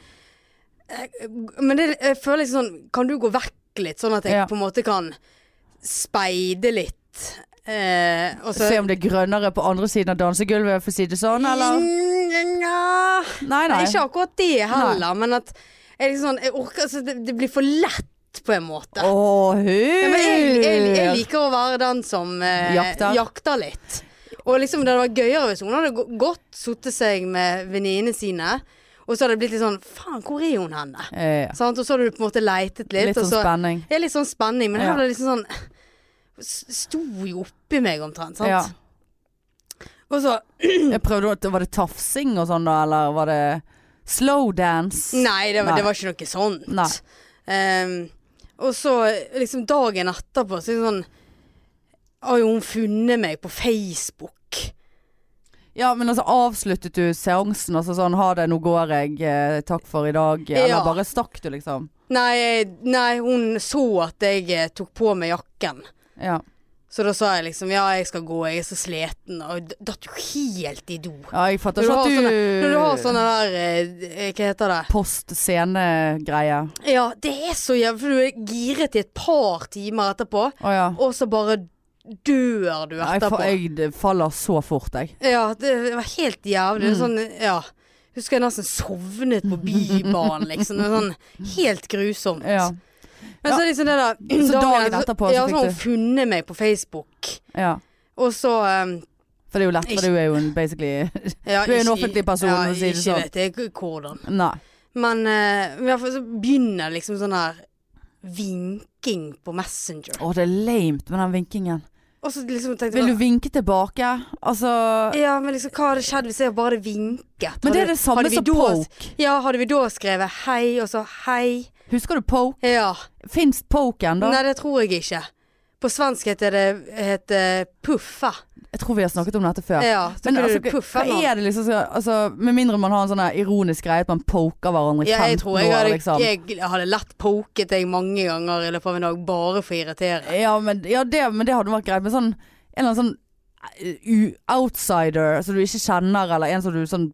eh, Men det, jeg føler liksom sånn Kan du gå vekk litt, sånn at jeg
Ja.
på en måte kan speide litt? Eh, og så
Se om det er grønnere på andre siden av dansegulvet, for å si det sånn, eller?
Nja
Nei, nei.
Mm. Ikke akkurat det heller, men at jeg liksom sånn Jeg orker altså, det, det blir for lett, på en måte.
Å,
Ja, men jeg, jeg, jeg
hør!
liker å være den som eh,
Jakter.
jakter. litt. Og liksom det hadde vært gøyere hvis hun hadde gå- gått, sittet seg med venninnene sine, og så hadde det blitt litt sånn Faen, hvor er hun henne?
Eh,
Sant? Og så hadde du på en måte leitet litt.
Litt
og
sånn
så,
spenning.
ja, litt sånn spenning. Men her
Ja.
var det liksom sånn s- Sto jo oppi meg omtrent, sant.
Ja.
Og så
Jeg prøvde å Var det tafsing og sånn da, eller var det slow dance?
Nei, det var,
Nei.
Det var ikke noe sånt.
Nei.
Ehm, og så liksom dagen etterpå så er det sånn Har jo hun funnet meg på Facebook?
Ja, men altså avsluttet du seansen altså sånn ha det, nå går jeg, eh, takk for i dag, eller
Ja.
bare stakk du liksom?
Nei, nei, hun så at jeg eh, tok på meg jakken.
Ja.
Så da sa jeg liksom ja, jeg skal gå, jeg er så sliten. Og d- datt jo helt i do.
ja, jeg fatter
Når du,
ikke
har
at du
sånne, når du har sånne der eh, eh, Hva heter det?
post-scene-greie.
Ja, det er så jævlig, for du er giret i et par timer etterpå,
Å ja.
og så bare dør du
Nei,
etterpå.
fa- jeg d- faller så fort, jeg.
Ja, det var helt jævlig. Det er Sånn,
Mm.
ja. Husker jeg nesten sovnet på bybanen, liksom. Det var sånn helt grusomt.
Ja.
Men så er det liksom det der
Så dagen
etter-
etterpå så
Ja,
fikk
så har
du-
hun funnet meg på Facebook.
ja.
Og så um,
For det er jo lett, for du er jo en basically
ja,
Du er en
ikke-
offentlig person,
Ja,
for å si det
ikke
sånn.
vet jeg hvordan.
Nei.
Men eh, i hvert fall så begynner liksom sånn her vinking på Messenger.
Å, det er lamet med den vinkingen.
Og så liksom tenkte
Vil du
jeg
vinke tilbake? Altså
bare, Ja, men liksom, hva hadde skjedd hvis jeg bare hadde vinket?
Men det
Hadde-
er det samme
hadde vi
som
da-
poke.
Ja, hadde vi da skrevet hei, og så hei?
Husker du poke?
Ja.
Fins poke ennå?
Nei, det tror jeg ikke. På svensk heter det heter puffe.
Jeg tror vi har snakket om dette før.
Ja, så
Men
kunne
altså,
du puffe
hva
han.
er det liksom så, altså, Med mindre man har en sånn her ironisk greie at man poker hverandre i
Ja,
15
jeg tror jeg
år,
hadde,
liksom.
jeg hadde lett poket deg mange ganger i løpet av en dag bare for å irritere.
Ja, men, ja det, men det hadde vært greit. Men sånn en eller annen sånn eh, u- outsider som du ikke kjenner, eller en som du sånn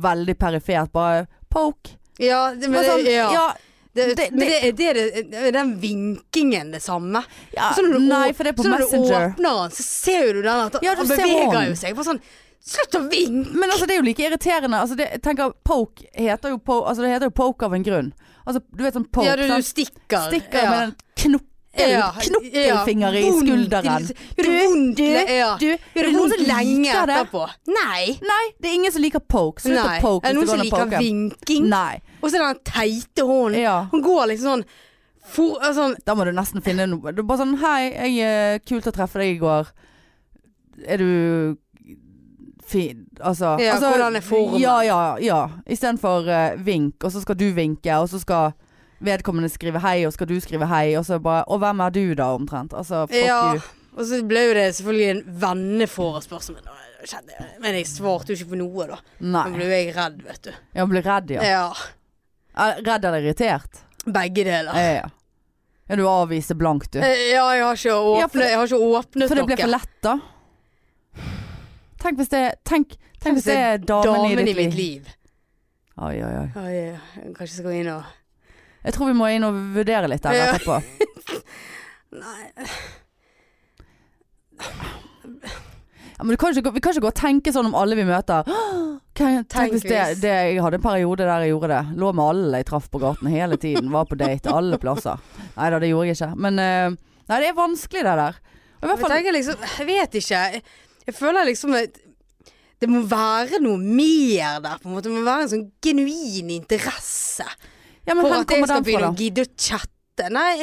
veldig perifert bare Poke.
Ja, det, men
Bare
det,
sånn,
ja.
ja,
det,
det-
men det, det, er det, det er den vinkingen det samme.
ja,
Så når du, å-
Ah, Nei, for det er på
så når du
Messenger.
åpner den, så ser jo du den at
Ja, du
han
ser
beveger
hånden.
jo seg. Bare sånn Slutt å vinke!
Men altså, det er jo like irriterende. Altså, det, jeg tenker, poke heter jo, po altså, det heter jo poke av en grunn. Altså, du vet sånn poke.
ja, du, du
sant?
stikker.
Stikker
ja.
med den knoppel,
Ja,
knoppelfinger i
vondt i-
skulderen.
Gjør det vondt? Ja.
du,
Ah, Gjør det vondt så lenge
liker det?
etterpå? Nei.
Nei, det er ingen som liker poke. Slutt
Nei.
å poke
Er det
hvis
noen som
det går an å
liker
poke.
vinking?
Nei.
Og så den teite hånden.
Ja.
Hun går liksom sånn for, altså,
Da må du nesten finne noe. Du er bare sånn Hei, jeg eh, kult å treffe deg i går. Er du fin? Altså,
Ja,
altså
hvordan er formen?
Ja, ja, ja. Istedenfor uh, vink, og så skal du vinke, og så skal vedkommende skrive hei, og skal du skrive hei, og så bare Og hvem er du, da, omtrent? Altså, fuck
Ja.
you.
Og så ble jo det selvfølgelig en venneforespørsel. Men, da skjedde det. men jeg svarte jo ikke på noe, da. Da
Nei.
ble jo jeg redd, vet du.
Jeg blir redd, ja.
Ja.
Eh, Redd eller irritert?
Begge deler.
Ja, ja. Ja, du avviser blankt, du.
Eh, Ja, Ah. jeg har ikke
Ja, for
åpnet,
det-
jeg har ikke åpnet
For det ble
noe.
for lett, da. Tenk hvis det Tenk, tenk hvis det er damen,
Damen
i ditt liv.
liv.
Oi, oi, oi.
Oi, jeg kanskje skal gå inn og
Jeg tror vi må inn og vurdere litt der
Ja.
etterpå.
Nei.
Ja, men du kan ikke, gå- vi kan ikke gå og tenke sånn om alle vi møter. «Åh, Tenk, tenk hvis det,
Tenkvis.
det Jeg hadde en periode der jeg gjorde det. Lå med alle jeg traff på gaten hele tiden. Var på date alle plasser. Nei da, det gjorde jeg ikke. Men eh, nei, det er vanskelig det der. Og I hvert
Jeg
fall
tenker liksom Jeg vet ikke. Jeg- Jeg føler liksom at det må være noe mer der, på en måte. Det må være en sånn genuin interesse.
ja, men
For
Hvor
at jeg
kommer
skal
den
begynne
fra, da?
å gidde å chatte. Nei,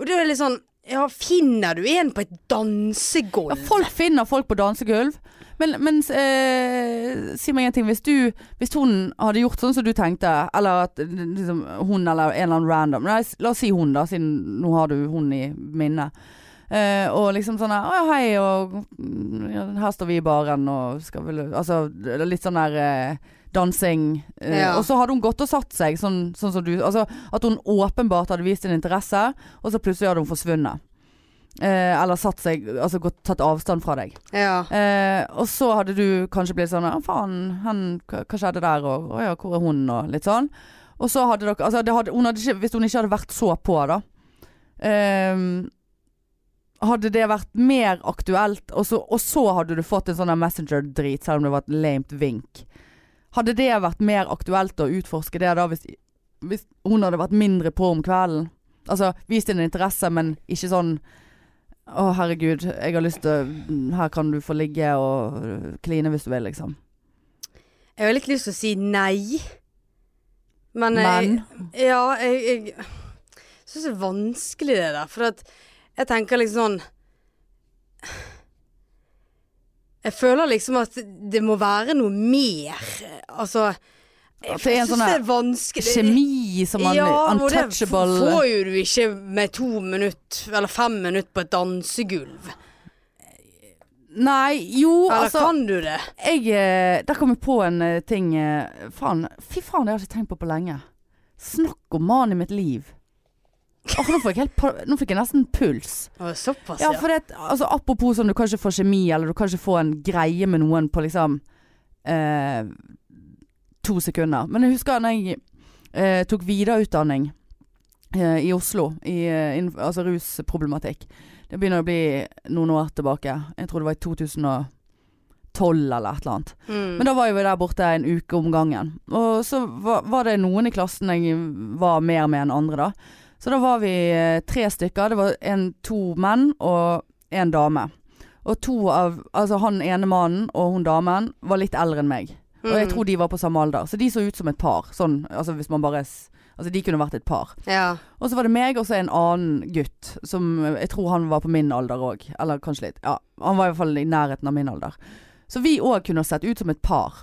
og det er litt sånn Ja, finner du en på et
Ja,
dansegulv?
folk finner folk på dansegulv. Men, men eh, si meg en ting. Hvis, du, hvis hun hadde gjort sånn som du tenkte, eller at liksom, hun eller en eller annen random Nei, s- La oss si hun, da, siden nå har du hun i minnet. Eh, og liksom sånn her Å ja, hei, og mm, ja, her står vi i baren og skal vel Altså det er litt sånn der eh, dansing. Eh,
Ja.
Og så hadde hun gått og satt seg, sånn, sånn som du Altså at hun åpenbart hadde vist en interesse, og så plutselig hadde hun forsvunnet. Eh, eller satt seg, altså gått, tatt avstand fra deg.
Ja.
Eh, og så hadde du kanskje blitt sånn «Å, Faen, han, hva hva skjedde der? Og å ja, hvor er hun? Og litt sånn. Og så hadde dere altså, det hadde, hun hadde ikke, Hvis hun ikke hadde vært så på, da. ehm, hadde det vært mer aktuelt, og så, og så hadde du fått en sånn der Messenger-drit, selv om det var et lamet vink. Hadde det vært mer aktuelt å utforske det da, hvis, hvis hun hadde vært mindre på om kvelden? Altså vist en interesse, men ikke sånn å, herregud, jeg har lyst til å- mm, Her kan du få ligge og øh, kline hvis du vil, liksom.
Jeg har litt lyst til å si nei. Men,
Men
Jeg, ja, jeg, jeg syns det er vanskelig det der. For at jeg tenker liksom sånn Jeg føler liksom at det må være noe mer. Altså Jeg
At det er en
syns
sånn
det
her
er vanskelig.
kjemi som un
og det f-
untouchable
får jo du ikke med to minutter eller fem minutter på et dansegulv.
Nei, jo,
Eller
altså
kan du det?
jeg, eh, Der kom jeg på en eh, ting eh, Faen, fy faen, det har jeg ikke tenkt på på lenge. Snakk om mannen i mitt liv. Åh, nå, fikk jeg helt, pa- nå fikk jeg nesten puls.
Å, Såpass,
Ja,
ja.
for det, altså, apropos sånn du kan ikke få kjemi, eller du kan ikke få en greie med noen på liksom eh, to sekunder. Men jeg husker da jeg eh, tok videreutdanning eh, i Oslo, i, eh, inn- altså rusproblematikk. Det begynner å bli noen år tilbake. Jeg tror det var i 2012 eller et eller annet.
Mm.
Men da var jo vi der borte en uke om gangen. Og så var, var det noen i klassen jeg var mer med enn andre, da. Så da var vi eh, tre stykker. Det var en, to menn og en dame. Og to av Altså han ene mannen og hun damen var litt eldre enn meg. Og jeg
Mm.
tror de var på samme alder. Så de så ut som et par. Sånn, altså hvis man bare s- Altså de kunne vært et par.
Mm. ja.
Og så var det meg og så en annen gutt som eh, jeg tror han var på min alder òg. Eller kanskje litt. Ja, han var i hvert fall i nærheten av min alder. Så vi òg kunne sett ut som et par.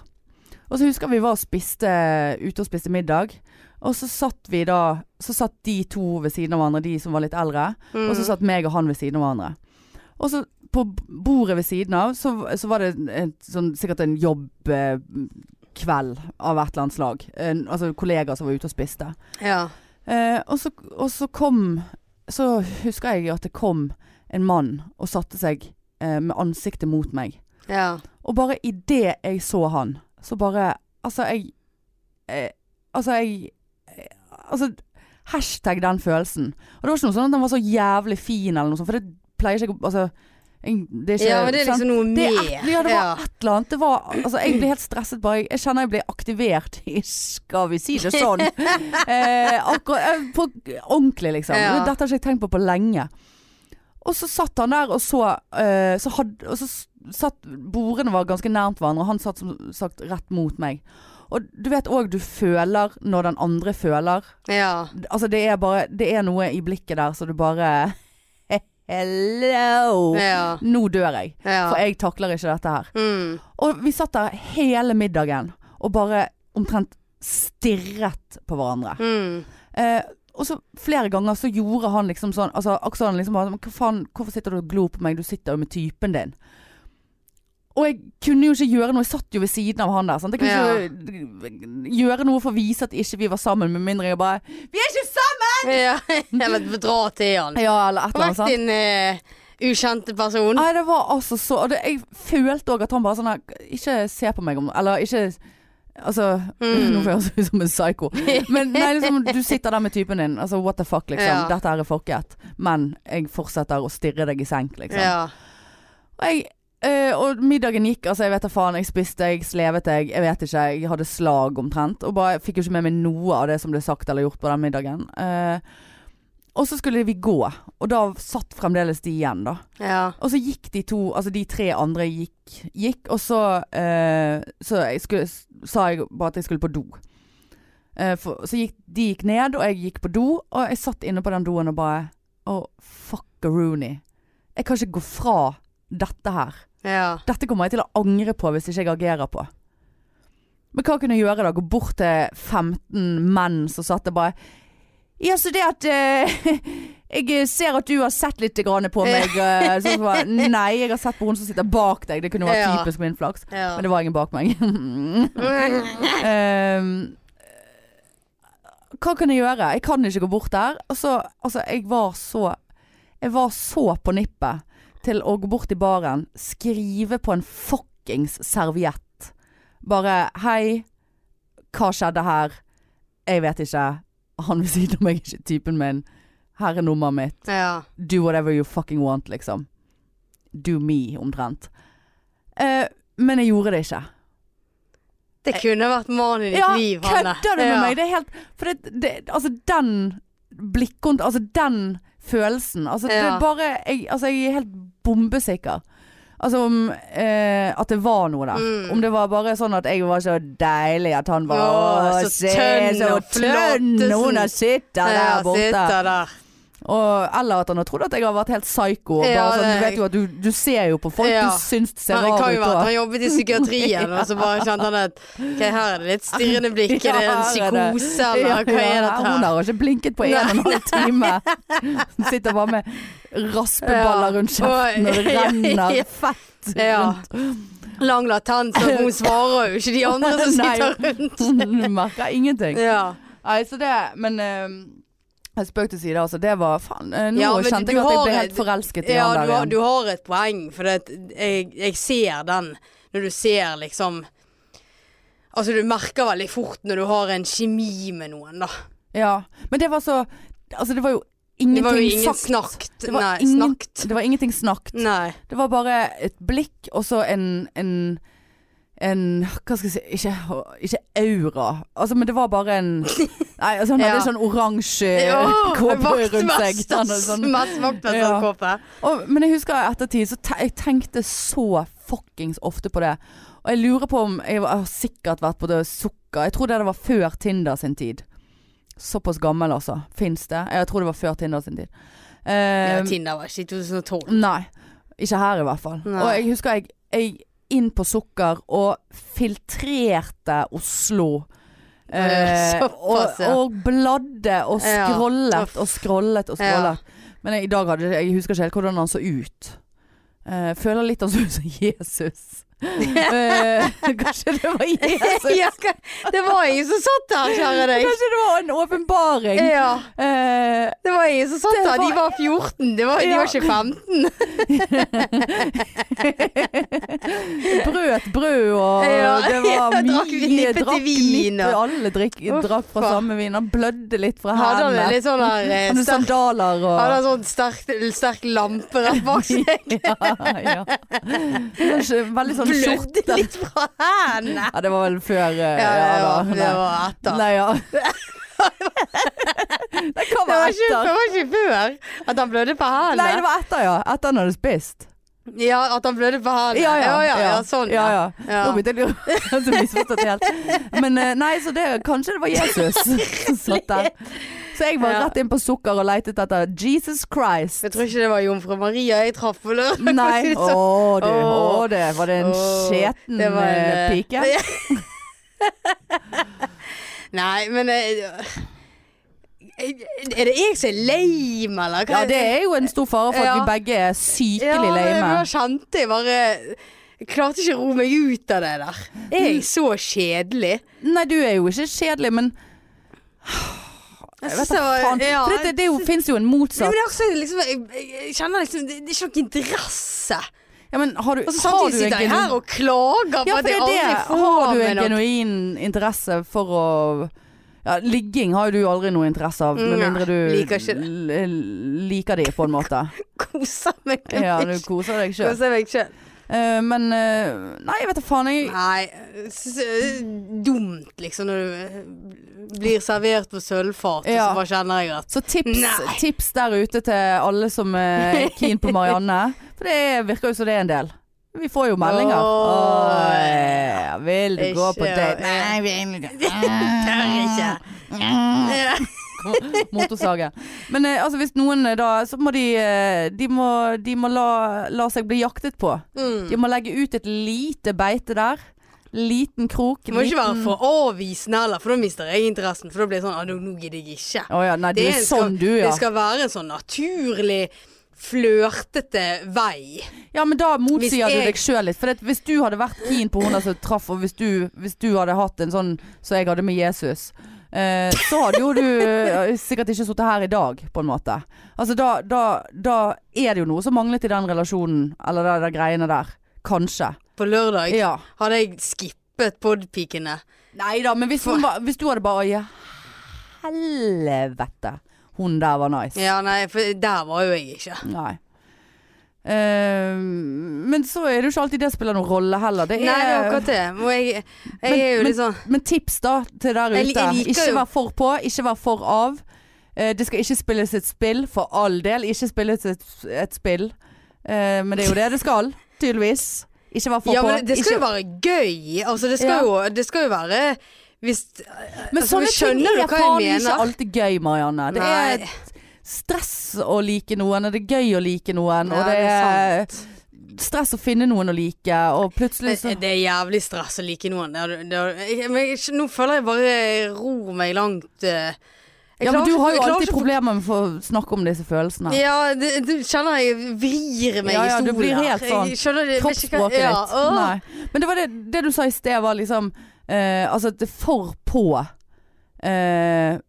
Og så husker vi var og spiste, eh, ute og spiste middag. Og så satt vi da Så satt de to ved siden av hverandre, de som var litt eldre.
Mm.
Og så satt meg og han ved siden av hverandre. Og så på bordet ved siden av, så, så var det en, sånn, sikkert en jobbkveld av et eller annet slag. En, altså kollegaer som var ute og spiste.
Ja.
Eh, og, så, og så kom Så husker jeg at det kom en mann og satte seg eh, med ansiktet mot meg.
Ja.
Og bare idet jeg så han, så bare Altså, jeg eh, Altså, jeg eh, Altså, hashtag den følelsen. Og det var ikke noe sånn at han var så jævlig fin eller noe sånt, for det pleier ikke å Altså, jeg, det er ikke
ja, men det er
sant?
liksom noe
Det
med.
er et, ja, det var et eller annet. Det var, altså, jeg blir helt stresset bare. Jeg, jeg kjenner jeg blir aktivert i Skal vi si det sånn? Eh, akkurat, eh, på ordentlig, liksom.
Ja.
Dette har ikke jeg tenkt på på lenge. Og så satt han der, og så, eh, så, had, og så s- satt Bordene var ganske nærmt hverandre, og han satt som sagt rett mot meg. Og du vet òg du føler når den andre føler.
Ja.
Altså det er bare Det er noe i blikket der så du bare Hello!
Ja.
Nå dør jeg.
Ja.
For jeg takler ikke dette her.
Mm.
Og vi satt der hele middagen og bare omtrent stirret på hverandre.
Mm.
Eh, og så flere ganger så gjorde han liksom sånn altså, Aksel han liksom bare sånn, Hva faen, hvorfor sitter du og glor på meg? Du sitter jo med typen din. Og jeg kunne jo ikke gjøre noe. Jeg satt jo ved siden av han der. Sant? Jeg kunne ikke eh, gjøre noe for å vise at ikke vi var sammen, med mindre jeg bare Vi er ikke sammen!
ja. Eller dra til han.
Ja, eller et eller annet.
Vekk
sant?
din eh, ukjente person.
Nei, det var altså så og det, Jeg følte òg at han bare sånn her Ikke se på meg om Eller ikke Altså
Mm.
Nå får jeg høres ut som en psyko. Men nei, liksom, du sitter der med typen din. Altså what the fuck, liksom.
Ja.
Dette her er fucket. Men jeg fortsetter å stirre deg i senk, liksom.
Ja.
Og, jeg, eh, og middagen gikk, altså jeg vet da faen. Jeg spiste, jeg slevet, jeg Jeg vet ikke. Jeg hadde slag omtrent. Og bare fikk jo ikke med meg noe av det som ble sagt eller gjort på den middagen. Eh, og så skulle vi gå, og da satt fremdeles de igjen, da.
Ja.
Og så gikk de to, altså de tre andre gikk, gikk og så, eh, så jeg skulle, sa jeg bare at jeg skulle på do. Eh, for, så gikk, de gikk ned, og jeg gikk på do, og jeg satt inne på den doen og bare Å, fuckaroony. Jeg kan ikke gå fra dette her.
Ja.
Dette kommer jeg til å angre på hvis ikke jeg agerer på. Men hva kunne jeg gjøre da? Gå bort til 15 menn som satt der bare Ja, så det at eh, Jeg ser at du har sett litt grann på meg. eh, så bare, Nei, jeg har sett på hun som sitter bak deg. Det kunne vært
Ja.
typisk min flaks.
Ja.
Men det var ingen bak meg. Ehm, hva kan jeg gjøre? Jeg kan ikke gå bort der. Og så, altså, jeg var så Jeg var så på nippet til å gå bort i baren, skrive på en fuckings serviett. Bare 'Hei, hva skjedde her? Jeg vet ikke. Han ved siden av meg er ikke typen min. Her er nummeret mitt
ja.
do whatever you fucking want, liksom. Do me, omtrent. Eh, men jeg gjorde det ikke.
Det kunne vært mannen i ditt
Ja,
liv, Hanne.
kødder du med
ja.
meg? Det er helt For det, det, altså, den blikkont... Altså, den følelsen. Altså, det
Ja.
er bare jeg, altså, jeg er helt bombesikker. Altså om eh, at det var noe der.
Mm.
Om det var bare sånn at jeg var så deilig at han var
Å,
Å,
så
se,
tønn
så
og
tønn
flottesen.
hun har sittet der borte.
Sitter der.
Og, eller at han har trodd at jeg har vært helt psyko. og
Ja,
bare sånn,
det-
du vet jo at du, du ser jo på folk
Ja.
du syns det ser
Han, det
rar
kan jo
ut.
være at
og-
han jobbet i psykiatrien, og så bare kjente han at Ok, her er det litt stirrende blikk. Er det en
Ja, her er det.
psykose, eller hva er
Ja,
dette
Hun
her?
har ikke blinket på en og en halv time. Hun sitter bare med raspeballer
Ja.
rundt kjeften, og
Oi.
det
Ja.
renner fett
Ja.
rundt.
Lang latens, og hun svarer jo ikke de andre som
Nei.
sitter rundt.
Du merker ingenting.
Ja,
Nei, så det Men eh, spøk til side, altså. Det var faen eh, Nå
Ja, men
kjente
du
jeg at jeg
har
ble
et-
helt forelsket i
ja
han
du,
der
har,
igjen.
du har et poeng, for det, at jeg, jeg ser den når du ser liksom Altså, du merker veldig fort når du har en kjemi med noen, da.
Ja, men det var så Altså, det var jo
Det
ingenting
var jo ingen
sagt.
snakt.
Det var
Nei,
ingen-
snakt.
Det var ingenting snakket.
Nei.
Det var bare et blikk, og så en, en en, hva skal jeg si, ikke, ikke aura, altså, men det var bare en Nei, altså han
Ja.
hadde sånn oransje kåpe rundt seg.
altså.
Han hadde sånn, Ja.
Vaktmesterkåpe.
og, men jeg husker i ettertid, så te jeg tenkte så fuckings ofte på det. Og jeg lurer på om Jeg, var, jeg har sikkert vært på det sukker. Jeg tror det, det var før Tinder sin tid. Såpass gammel, altså. Fins det? Jeg tror det var før Tinder sin tid. Eh,
Ja, Tinder var ikke i 2012.
nei. Ikke her, i hvert fall.
Nei.
Og jeg husker jeg, jeg inn på sukker og filtrerte Oslo. Eh,
Såpass,
og,
ja.
og bladde og
Ja.
scrollet
Uff.
og scrollet og
Ja.
scrollet. Men jeg, i dag hadde, jeg husker ikke helt hvordan han så ut. Eh, føler litt han så ut som Jesus. Eh, kanskje det var Jesus?
Ja, det var ingen som satt der, kjære deg.
Kanskje det var en åpenbaring?
Ja,
Eh,
det var ingen som satt
Det
der. De
var-
var 14, det var, de
Ja.
var ikke 15.
brøt brød, og
Ja,
det var
ja, drakk
mye
nippet til
Drakk
vin,
nippe,
og-
alle drikk,
Å,
drakk fra
faen.
samme vin. Han blødde litt fra
Hadde han en
hendene.
litt sånn der eh,
Han hadde
sterk,
sandaler og
hadde en sånn sterk, sterk lampe rett bak seg.
ja, ja. Kanskje Veldig sånn skjorte.
Blødde litt fra hendene.
Ja, det var vel før eh,
Ja, det var,
da.
det var etter.
Nei, ja. det kan
Det
være
var, ikke,
etter.
det var ikke før at han blødde på
Nei,
hendene.
det var etter, ja. Etter han hadde spist.
Ja, at han blødde på hendene. Ja, ja, ja, sånn.
ja,
Ja,
ja.
Ja.
Nå begynte jeg å lure. Jeg hadde misforstått det helt. Men eh, nei, så det, kanskje det var Jesus som satt der. Så jeg var
Ja.
rett inn på sukker og leitet etter Jesus Christ.
Jeg tror ikke det var jomfru Maria jeg traff på lørdag. for å si
Nei,
det
å
sånn.
du. Å du. Var det en
Åh,
skjeten
det var en,
eh,
eh,
pike?
Nei, men eh, Er det jeg som er lame, eller?
Ja, det er jo en stor fare for at
Ja.
vi begge er sykelig lame.
Ja, jeg kjente jeg bare jeg Klarte ikke å roe meg ut av det der. Er jeg så kjedelig?
Nei, du er jo ikke kjedelig, men
Jeg
jeg
synes
vet da
var-
faen.
ja,
For dette, det er jo, finnes jo en
Nei, men
motsatt.
det er også liksom, jeg, jeg- jeg kjenner liksom Det, det er ikke noe interesse.
Ja, men har du,
Og så
har
samtidig
du en
sitter jeg
genuin-
her og klager på at
Ja, for det
jeg
er
aldri
det. Har
får
du
meg
en
noe.
genuin interesse for å ja, Ligging har jo du aldri noe interesse av, med
Nei,
mindre du
liker ikke det.
l- liker de, på en måte.
Koser meg.
Ja, du koser deg sjøl.
Koser meg sjøl.
men eh, Nei, jeg vet da faen. Jeg,
Nei, jeg synes det er dumt liksom når du blir servert på sølvfat,
Ja.
og så bare kjenner jeg at
så tips,
Nei.
tips der ute til alle som er keen på Marianne. For det virker jo som det er en del. Vi får jo meldinger.
Åh.
Åh, vil du gå på
Ikke,
date?
ja.
Nei, jeg vil
Tør ikke. Ja.
motorsage. Men eh, altså, hvis noen eh, da Så må de eh, De må, de må la, la seg bli jaktet på.
Mm.
De må legge ut et lite beite der. Liten krok.
Du må ikke være
liten-
for avvisende heller, for da mister jeg interessen. For da blir det sånn ah, nå- 'Nå gidder jeg ikke'.
Å ja, nei, du er
skal,
sånn du, ja.
det skal være en sånn naturlig, flørtete vei.
Ja, men da
Hvis
motsier du
jeg-
deg sjøl litt. For det, at hvis du hadde vært keen på hun der som traff, og hvis du, hvis du hadde hatt en sånn som jeg hadde med Jesus eh, så hadde jo du eh, sikkert ikke sittet her i dag, på en måte. Altså da, da, da er det jo noe som manglet i den relasjonen, eller de der greiene der. Kanskje.
På lørdag
Ja.
hadde jeg skippet podpikene.
Nei da, men hvis, hun var, hvis du hadde bare Ja, helvete. Hun der var nice.
Ja, nei, for der var jo jeg ikke.
Nei. Eh, men så er det jo ikke alltid det spiller noen rolle heller. Det er,
Nei, det er akkurat det. Og jeg, jeg
Men-
er jo
men-
litt sånn
Men tips da til der ute.
Jeg- jeg liker
ikke
jo-
vær for på, ikke vær for av. Eh, det skal ikke spilles et spill, for all del. Ikke spilles et, et spill. Eh, men det er jo det det skal, tydeligvis. Ikke vær for
Ja,
på.
men det skal
ikke,
jo være gøy. Altså, det skal,
Ja.
jo, det skal jo være hvis
men
altså,
sånne
skjønner
ting
du
er
hva jeg
faen ikke
mener?
alltid gøy, Marianne. Det er
Nei,
stress å like noen, og det er gøy å like noen,
Ja,
og det
det er
er stress å finne noen å like, og plutselig så
det, det er jævlig stress å like noen. Det, er- det, er- jeg, men jeg, nå føler jeg bare jeg ror meg langt eh. jeg
Ja, men
klarer
du
ikke-
har
jeg
jo
klarer
alltid
ikke å-
problemer med å snakke om disse følelsene.
Ja, det, det kjenner jeg vrir meg
Ja, ja,
i
du
stolen.
blir
her.
helt sånn
Jeg skjønner det. jeg vet ikke hva-
Kroppsspråket
ja,
ditt.
åh.
Nei. Men det var det, det du sa i sted, var liksom eh, Altså at det er for på eh,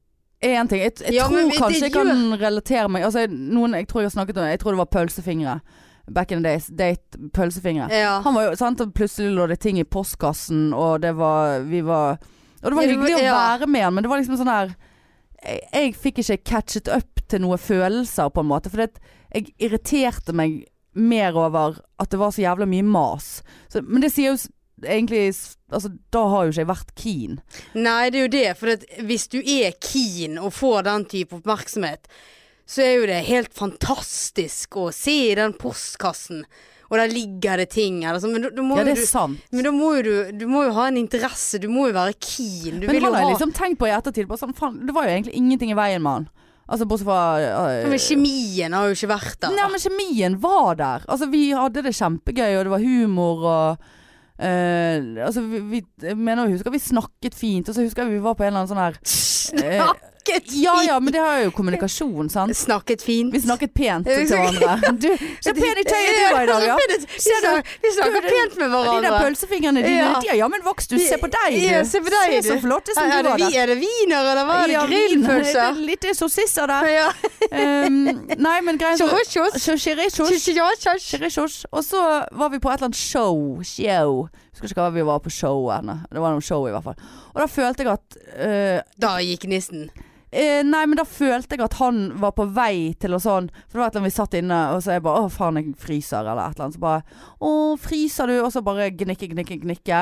er en ting. Jeg, jeg
Ja,
tror
men det
kanskje jeg kan
gjør-
relatere meg Altså jeg- noen jeg tror jeg har snakket om Jeg tror det var pølsefingre. Back in the days. Date pølsefingre.
Ja.
Han var jo, sant, og plutselig lå det ting i postkassen, og det var Vi var Og det var
Ja, det var-
hyggelig å
ja.
være med han, men det var liksom sånn her jeg, jeg fikk ikke catchet up til noen følelser, på en måte. For det, jeg irriterte meg mer over at det var så jævla mye mas. Så, men det sier jo s- egentlig s- Altså, da har jo ikke jeg vært keen.
Nei, det er jo det. For at hvis du er keen og får den type oppmerksomhet, så er jo det helt fantastisk å se i den postkassen, og der ligger det ting eller sånn. Men, da- da må
Ja,
jo
det er
du,
sant.
men da må jo du, du må jo ha en interesse, du må jo være keen. Du
Men
vil jo
han har
ha
jeg liksom tenkt på i ettertid. Bare sånn, faen, det var jo egentlig ingenting i veien med han. Altså, bortsett fra øh,
Men kjemien har jo ikke vært der.
Nei, men kjemien var der. Altså, vi hadde det kjempegøy, og det var humor og eh, altså, vi, vi jeg mener, jeg husker vi snakket fint, og så husker jeg vi var på en eller annen sånn her eh,
snakket fint.
Ja ja, men det har jo kommunikasjon, sant.
Snakket fint.
Vi snakket pent til hverandre. Du, så pen i tøyet du var i dag, ja.
Vi snakker, vi snakker
Du, du-
pent med
De der
hverandre.
pølsefingrene dine.
Ja.
Ja, ja men voks, du. Se på deg, du.
Ja, se på deg,
så
du.
flotte som
Er
du
det,
var.
vi, er det wiener, eller hva? Er det grillpølser?
Litt sossisser der.
Ja.
Um, nei, men greien så-
Chorrochos.
Sjo- Chirichos.
Chorrochos.
Chirichos. Og så var vi på et eller annet show. Show. Husker ikke hva vi var på showet. nei. Det var noe show i hvert fall. Og da følte jeg at eh,
Da gikk nissen.
Eh, nei, men da følte jeg at han var på vei til å sånn For det var et eller annet vi satt inne, og så er jeg bare 'Å, faen, jeg fryser', eller et eller annet. Så bare 'Å, fryser du?' Og så bare gnikke, gnikke, gnikke.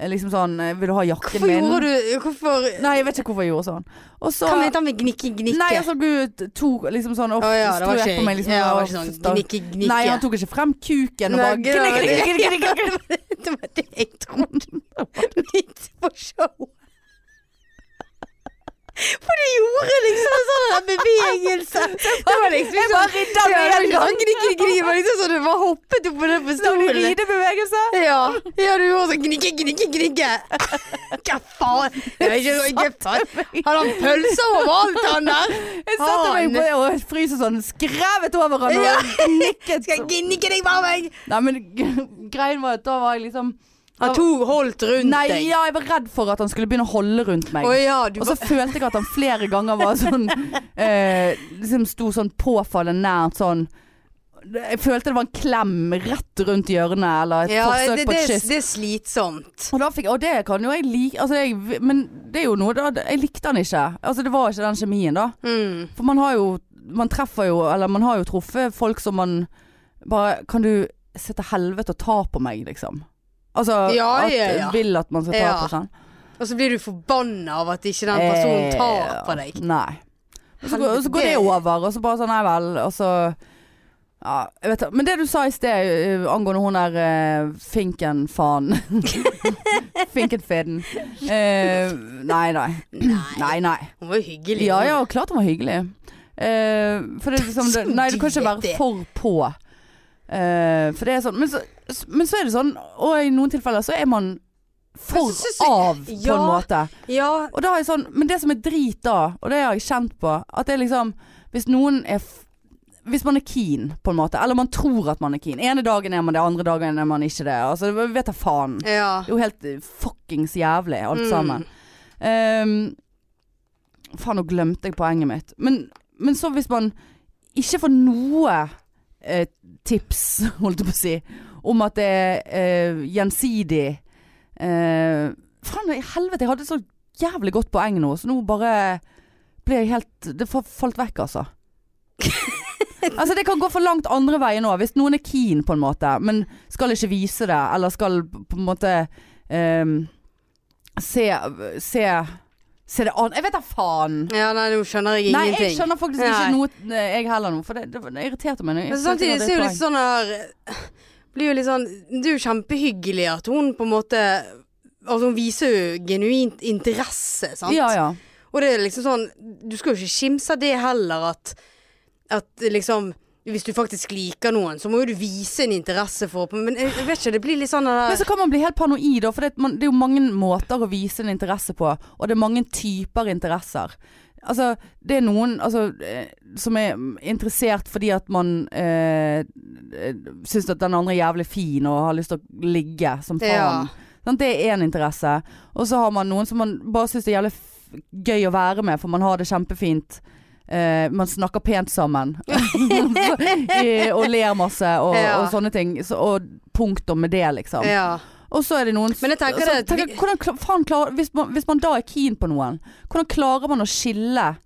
Eh, liksom sånn eh, 'Vil du ha jakken
Hvorfor
min?'
gjorde du Hvorfor
Nei, jeg vet ikke hvorfor jeg gjorde sånn. Og så
Kan vi ta med gnikke, gnikke?
Nei, altså, du tok liksom sånn og
Å ja, det var
strøk
ikke,
på meg. Liksom,
ja, det var
og-
ikke sånn gnikke, gnikke.
Nei, han tok ikke frem kuken og
Nei,
bare
det var
gnikke,
det.
gnikke, gnikke, gnikke.
Det var det jeg trodde midt på showet. For du gjorde liksom en sånn der bevegelse. Det var liksom
Jeg bare ridda
Ja, det
med
var
en
ikke
gang. Sånn
sånn gnikke, gnikke. Det var liksom sånn du bare hoppet opp på den på stolen.
Ridebevegelse.
Ja, ja, du gjorde sånn gnikke, gnikke, gnikke. Hva faen? Det var ikke noe faen. Hadde han pølser overalt, han der?
Jeg satte meg på det og fryser sånn skrevet over han
Ja.
og nikket.
Skal jeg gnikke deg bare meg?
Nei, men g- greien var at da var jeg liksom
Han tok holdt rundt
Nei,
deg.
ja, jeg var redd for at han skulle begynne å holde rundt meg.
Å ja, du
Og så følte jeg at han flere ganger var sånn eh, Liksom sto sånn påfallende nært sånn Jeg følte det var en klem rett rundt hjørnet, eller et
ja,
forsøk
det,
på
det,
et kyss.
det er slitsomt.
Og, da fikk, jeg- og det kan jo jeg like altså jeg, Men det er jo noe da Jeg likte han ikke. Altså det var ikke den kjemien, da.
Mm.
For man har jo Man treffer jo Eller man har jo truffet folk som man Bare Kan du se til helvete og ta på meg liksom Altså
Ja,
at,
ja, ja.
Vil at man skal ta
Ja.
på sånn
Og så blir du forbanna av at ikke den personen tar på deg.
Eh, Nei Og så går, og så går
Helvete.
det over Og så bare sånn Nei vel Og så ja, jeg vet, ikke. men det du sa i sted eh, angående hun der eh, finken faen Finkenfeden eh, Nei, nei
Nei,
Nei, nei
hun var jo hyggelig.
Ja, ja, klart han var hyggelig. Eh, for det er liksom det, Nei, du kan ikke være for på. Eh, for det er sånn men så, men så er det sånn, og i noen tilfeller så er man for
Men så synes jeg-
av, på
Ja.
en måte.
Ja,
Og da er jeg sånn, men det som er drit da, og det har jeg kjent på, at det er liksom Hvis noen er f Hvis man er keen, på en måte, eller man tror at man er keen. Ene dagen er man det, andre dagen er man ikke det. Altså, vi vet da faen.
ja.
Det er jo helt eh, fuckings jævlig, alt
Mm.
sammen. Ehm, faen, nå glemte jeg poenget mitt. Men, men så hvis man ikke får noe eh, tips, holdt jeg på å si, om at det er eh, gjensidig eh, Faen i helvete, jeg hadde et så jævlig godt poeng nå, så nå bare ble jeg helt Det fa- falt vekk, altså. altså Det kan gå for langt andre veien òg, hvis noen er keen på en måte, men skal ikke vise det, eller skal på en måte ehm, se, se Se det an Jeg vet da faen!
ja nei, nå skjønner jeg
Nei,
ingenting.
jeg skjønner faktisk ikke
Nei.
noe, eh, jeg heller nå, for det, det, det irriterte meg. Jeg
Men
følte
samtidig
jeg hadde
så er
et
jo
poeng.
litt sånn her Blir jo litt sånn Det er jo kjempehyggelig at hun på en måte Altså hun viser jo genuint interesse, sant.
Ja, ja.
Og det er liksom sånn Du skal jo ikke skimse av det heller at At liksom Hvis du faktisk liker noen, så må jo du vise en interesse for Men jeg, jeg vet ikke, det blir litt sånn
Men
der,
så kan man bli helt paranoid, da, for det, man, det er jo mange måter å vise en interesse på, og det er mange typer interesser. Altså, det er noen altså, eh, som er mm, interessert fordi at man eh, eh, syns at den andre er jævlig fin og har lyst til å ligge som
Ja.
faen. Sant? det er én interesse. Og så har man noen som man bare syns det er jævlig f gøy å være med, for man har det kjempefint. Eh, man snakker pent sammen Eh, og ler masse og,
Ja.
og sånne ting. Så, og punktum med det, liksom.
Ja.
Og så er det noen
Men jeg tenker
så,
det at
tenker,
vi-
jeg, hvordan, kla- faen klarer, hvis, man, hvis man da er keen på noen, hvordan klarer man å skille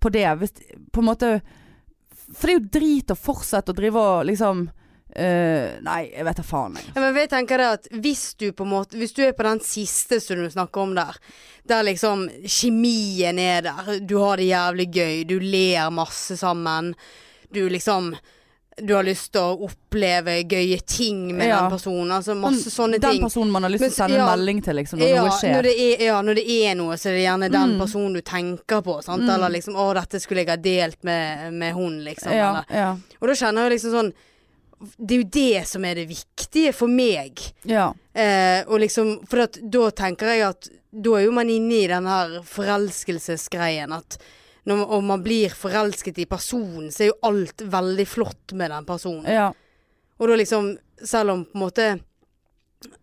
på det? Hvis, på en måte, for det er jo drit å fortsette å drive og liksom eh, Nei, jeg vet da faen. Jeg.
Ja, men jeg tenker det at hvis du på en måte Hvis du er på den siste som du snakker om der Der liksom kjemien er der Du har det jævlig gøy Du ler masse sammen Du liksom Du har lyst til å oppleve gøye ting med
Ja.
den personen Altså masse sånne
Sånn, den
ting
personen man har lyst til
Men
å
s-
sende
ja.
melding til, liksom, når
ja
noe
når,
skjer. Mm.
det er, ja, når det er noe, så er det gjerne den personen du tenker på. Sant? Eller liksom 'Å, dette skulle jeg ha delt med, med hun', liksom.
ja,
Eller.
ja,
Og da kjenner jeg liksom sånn Det er jo det som er det viktige for meg.
ja.
Eh, og liksom, for at, da tenker jeg at da er jo man inne i den her forelskelsesgreien at når man, og man blir forelsket i personen, så er jo alt veldig flott med den personen.
Ja.
Og da liksom, selv om på en måte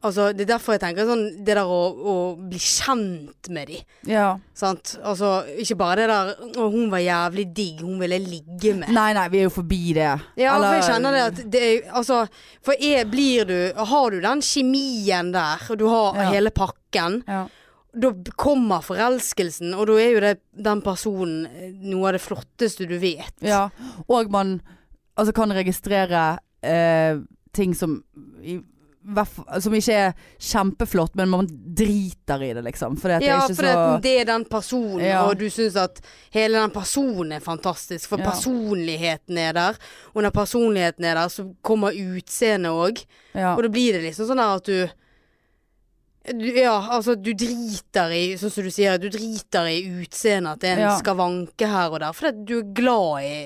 Altså, det er derfor jeg tenker sånn Det der å, å bli kjent med de,
ja.
sant. Altså, ikke bare det der Å, hun var jævlig digg, hun ville jeg ligge med.
Nei, nei, vi er jo forbi det.
Ja, for jeg
Eller-
kjenner det at det er Altså, for jeg blir du Har du den kjemien der, og du har
Ja.
hele pakken,
Ja.
da b- kommer forelskelsen, og da er jo det den personen eh, noe av det flotteste du vet.
ja. Og man altså, kan registrere eh, ting som i, hvert fall- som ikke er kjempeflott, men man driter i det, liksom. Fordi at
Ja,
det er
for
ikke så
det er den personen,
Ja.
og du syns at hele den personen er fantastisk. For
Ja.
personligheten er der, og når personligheten er der, så kommer utseendet òg.
ja.
Og da blir det liksom sånn der at du du, ja, altså du driter i Sånn som du sier, du driter i utseendet At det er en
Ja.
skavanke her og der Fordi at du er glad i,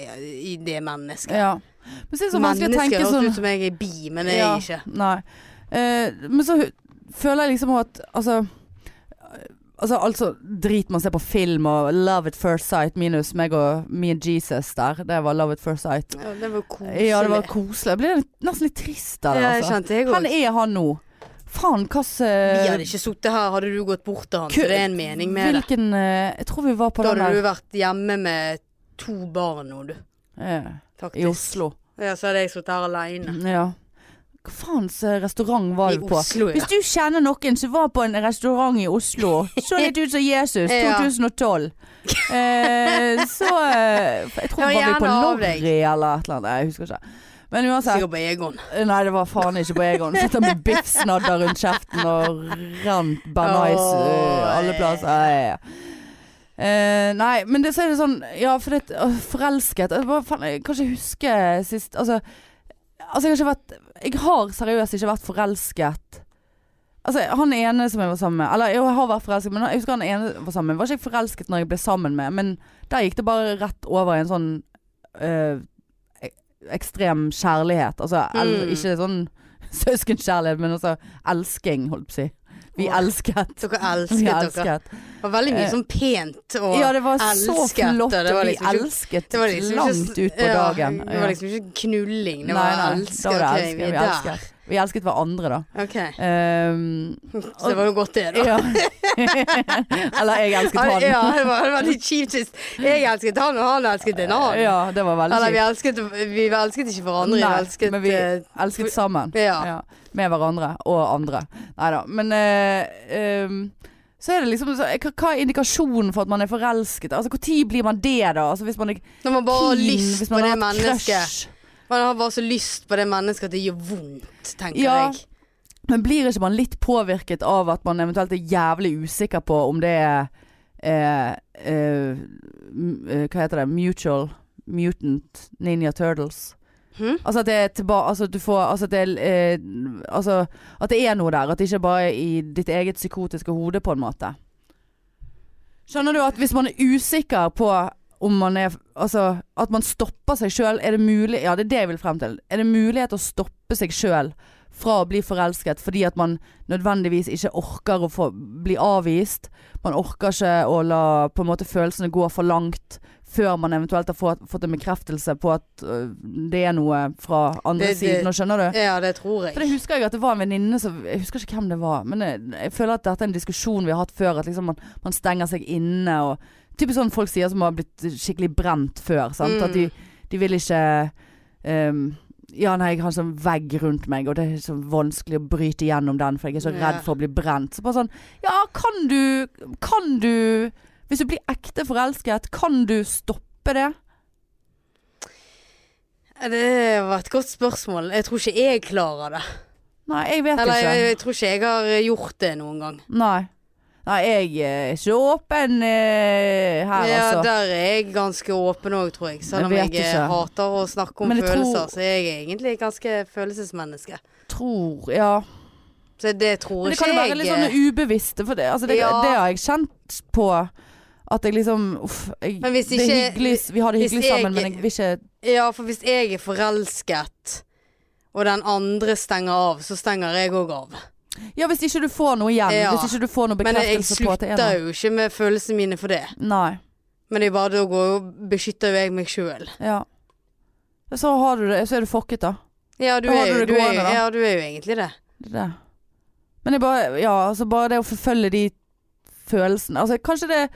i det mennesket
ja. Men så er det så vanskelig å
Mennesket
tenke
høres
sånn
ut som jeg er bi, men det er
Ja,
jeg ikke
Nei. Eh, men så hu- føler jeg liksom også at altså, eh, altså Altså drit man ser på film og Love at first sight minus meg og me and Jesus der. Det var Love at first sight.
ja, Det var koselig
Ja, det var koselig. Jeg ble litt- nesten litt trist av det.
Ja, jeg
Altså.
kjente jeg
Han
også
er han nå. Faen, hva Eh,
Vi hadde ikke sittet her, hadde du gått bort til han Så det er en mening med det
Hvilken eh, Jeg tror vi var på
Da
den
hadde
der
du vært hjemme med to barn nå, du
eh,
Faktisk
I Oslo.
Ja, så hadde jeg sittet her alene
Ja. Hva faens eh, restaurant Mm. var
I
du på?
Oslo, ja
Hvis du kjenner noen som var på en restaurant i Oslo, så litt ut som Jesus,
Ja.
2012. Eh, så eh, Jeg tror
Hør
det var vi
gjerne
på
av deg.
Lorry eller et eller annet. Nei, jeg husker ikke. Men uansett.
Sikkert på Egon
Nei, det var faen ikke på Egon. Sitter med biffsnadder rundt kjeften og rant banais
Åh,
eh, alle plasser. Ja, ja, ja. Eh, nei, men det, så er det sånn Ja, for det å, Forelsket jeg, bare, faen, jeg kan ikke huske sist Altså, altså jeg har ikke vært Jeg har seriøst ikke vært forelsket. Altså, han ene som jeg var sammen med Eller jo, jeg har vært forelsket, men jeg husker han ene jeg var sammen med. Var ikke jeg forelsket når jeg ble sammen med, men der gikk det bare rett over i en sånn eh, ek- ekstrem kjærlighet. Altså el
Mm.
ikke sånn søskenkjærlighet, men altså elsking, holdt på å si. Vi
Åh.
elsket.
Dere
Vi
elsket dere
elsket.
Det var veldig mye
Eh,
sånn pent og
Ja, det var så
elsket, og
flott,
det var
og vi
liksom ikke-
elsket
det var liksom ikke
langt
s-
utpå
ja,
dagen.
Det var liksom ikke knulling, det
Nei,
var
nei,
elsket.
da var det
ok,
elsket,
vi er
vi
der.
Vi elsket hverandre, da.
Ok,
Ehm,
Så det var jo godt det, da.
ja. Eller jeg elsket han.
Ja, det var det var litt kjipt hvis jeg elsket han, og han elsket en annen.
Eh, Ja, det var veldig
Eller vi
kjipt.
elsket, vi elsket ikke hverandre,
Nei,
vi elsket
men vi-
eh,
Elsket sammen.
ja.
ja. Med hverandre og andre. Nei da. Men eh, ehm, så er det liksom så, hva, hva er indikasjonen for at man er forelsket? Altså Når blir man det, da? Altså Hvis man er keen?
Når man bare har lyst
hvis
på
man
det
har hatt
mennesket.
crush?
Man har bare så lyst på det mennesket at det gjør vondt, tenker
Ja.
jeg.
Men blir ikke man litt påvirket av at man eventuelt er jævlig usikker på om det er eh, eh, m- eh, Hva heter det? Mutual Mutant Ninja Turtles.
Hm?
Altså at det er tilba altså at du får altså at, det, er, eh, altså at det er noe der. At det ikke bare er i ditt eget psykotiske hode, på en måte. Skjønner du at hvis man er usikker på om man er Altså at man stopper seg sjøl, er det mulig Ja, det er det jeg vil frem til. Er det mulighet å stoppe seg sjøl fra å bli forelsket fordi at man nødvendigvis ikke orker å få, bli avvist? Man orker ikke å la på en måte følelsene gå for langt før man eventuelt har fått, fått en bekreftelse på at øh, det er noe fra andre
Det- det-
siden. Nå skjønner du?
Ja, det tror
For det
jeg.
husker jeg at det var en venninne som Jeg husker ikke hvem det var, men jeg, jeg føler at dette er en diskusjon vi har hatt før. At liksom man, man stenger seg inne og Typisk sånn folk sier som har blitt skikkelig brent før. Sant?
Mm.
At de, de vil ikke ehm, Ja, nei, jeg har en sånn vegg rundt meg, og det er så vanskelig å bryte gjennom den, for jeg er så
Ja.
redd for å bli brent. Så bare sånn Ja, kan du Kan du Hvis du blir ekte forelsket, kan du stoppe det?
Det var et godt spørsmål. Jeg tror ikke jeg klarer det.
Nei, jeg vet
Eller
ikke.
jeg, jeg tror ikke jeg har gjort det noen gang.
Nei. Nei, jeg
eh,
er ikke åpen eh, her,
ja,
altså.
Der er jeg ganske åpen òg, tror jeg. Selv
Jeg
om jeg,
vet
eh,
ikke.
hater å snakke om
Men jeg tror-
følelser, så er jeg egentlig et ganske følelsesmenneske.
Tror, ja.
Så det tror
Men det
ikke
kan jo være
jeg.
litt sånn ubevisste, for det, altså det,
Ja.
det har jeg kjent på. At jeg liksom Uff. Jeg,
Men hvis
det er
ikke-
hyggelig, vi har det
hvis
hyggelig
jeg-
sammen, men jeg vil ikke
Ja, for hvis jeg er forelsket, og den andre stenger av, så stenger jeg òg av.
Ja, hvis ikke du får noe igjen.
Ja.
Hvis ikke du får noe
Men jeg
bekreftelse på at det er
slutter
noe.
jo ikke med følelsene mine for det.
Nei.
Men det er bare da går jo beskytter jo jeg meg sjøl.
Ja. Så har du det, så er du fucket, da.
Ja, du
Da har
er,
du
jo-
det
du, er,
gående,
jo-
da.
ja, du er jo egentlig det.
Det er det. Men det er bare, ja, altså bare det å forfølge de følelsene Altså kanskje det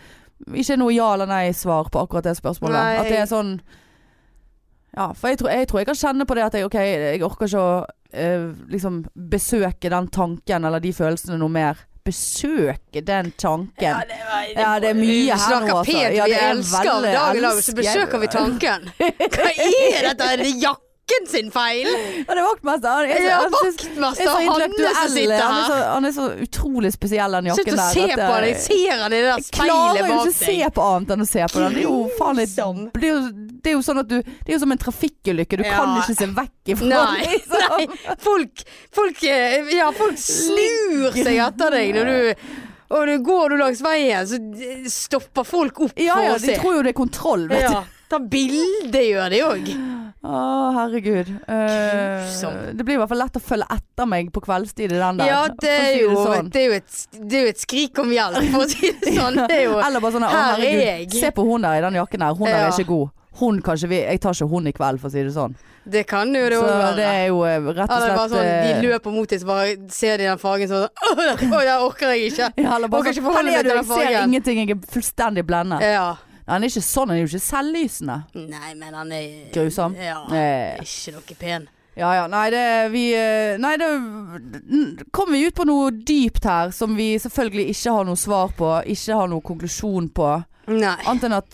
ikke er noe ja eller nei-svar på akkurat det spørsmålet.
Nei,
At det
jeg-
er sånn Ja, for jeg tror, jeg tror jeg kan kjenne på det at jeg, OK, jeg orker ikke å eh, liksom besøke den tanken eller de følelsene noe mer. Besøke den tanken.
det,
Ja, det er mye
Vi
her nå,
snakker
altså.
pent,
Ja,
vi
det er
elsker
veldig-
dag i dag, så
elsker-
besøker vi tanken. Hva er dette? Er det jakken sin feil?
Ja, det er vaktmester. Jeg, jeg,
Ja,
jeg, synes- jeg er
vaktmester Hanne
så
Altså, som
intellektuell.
sitter
altså, Han er,
her.
så, han er så utrolig spesiell, den
Slutt
jakken
å
der.
se
at,
på
eh,
deg. Ser han i det der
Jeg klarer
speilet
jo
bak
ikke å
deg?
se på annet enn å se på den. Det er jo faen litt
Grusom.
det er jo, det er jo sånn at du Det er jo som en trafikkulykke. Du
Ja.
kan ikke se vekk ifra
Nei,
den, liksom.
nei. Folk, folk, eh, ja, folk snur seg etter deg når du og du går du langs veien, så d- stopper folk opp
Ja ja,
for å
de
se.
tror jo det er kontroll, vet du.
Ja, Ta bilde gjør de òg.
Å, herregud. Eh,
Grusom.
det blir i hvert fall lett å følge etter meg på kveldstid i den der.
Ja,
for å
det er,
si
jo,
sånn.
det, er jo et, det er jo et skrik om hjelp, for å si det sånn. Det er jo,
Eller bare sånn Å,
Her er jeg.
herregud. Se på hun der i den jakken der. Hun der
Ja.
er ikke god. Hun kanskje vi Jeg tar ikke hun i kveld, for å si det sånn.
det kan jo det
Så
òg
det
være.
er jo eh, rett og
Eller bare
slett
sånn,
eh,
de løper mot deg, så bare ser de den fargen sånn Å, der orker jeg ikke.
ja, eller
Orker
bare
ikke
sånn,
forholde
Her
meg
er du,
til
jeg
den
ser
fargen.
ingenting, jeg er fullstendig blendet.
Ja.
Han er ikke sånn, han er jo ikke selvlysende.
Nei, men han er
Grusom.
Ja.
Eh,
Ikke noe pen.
ja ja, nei det vi eh, Nei det n- kom vi ut på noe dypt her som vi selvfølgelig ikke har noe svar på, ikke har noe konklusjon på.
Nei.
Annet enn at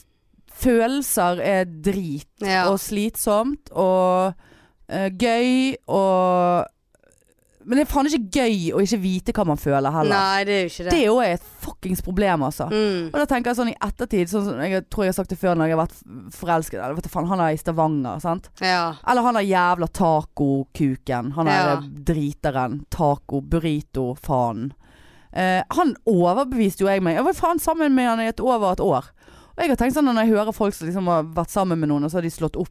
følelser er drit
Ja.
og slitsomt og eh, gøy og Men det er faen ikke gøy å ikke vite hva man føler heller.
Nei, det er jo ikke det.
Det er jo et fuckings problem, altså.
Mm.
Og da tenker jeg sånn i ettertid, sånn som jeg tror jeg har sagt det før når jeg har vært forelsket Eller vet du faen, han er i Stavanger, sant?
Ja.
Eller han er jævla tacokuken. Han er
Ja.
driteren. Taco, burrito, faen. Eh, han overbeviste jo jeg meg. Jeg var faen sammen med han i et over et år. Og jeg har tenkt sånn når jeg hører folk som liksom har vært sammen med noen, og så har de slått opp.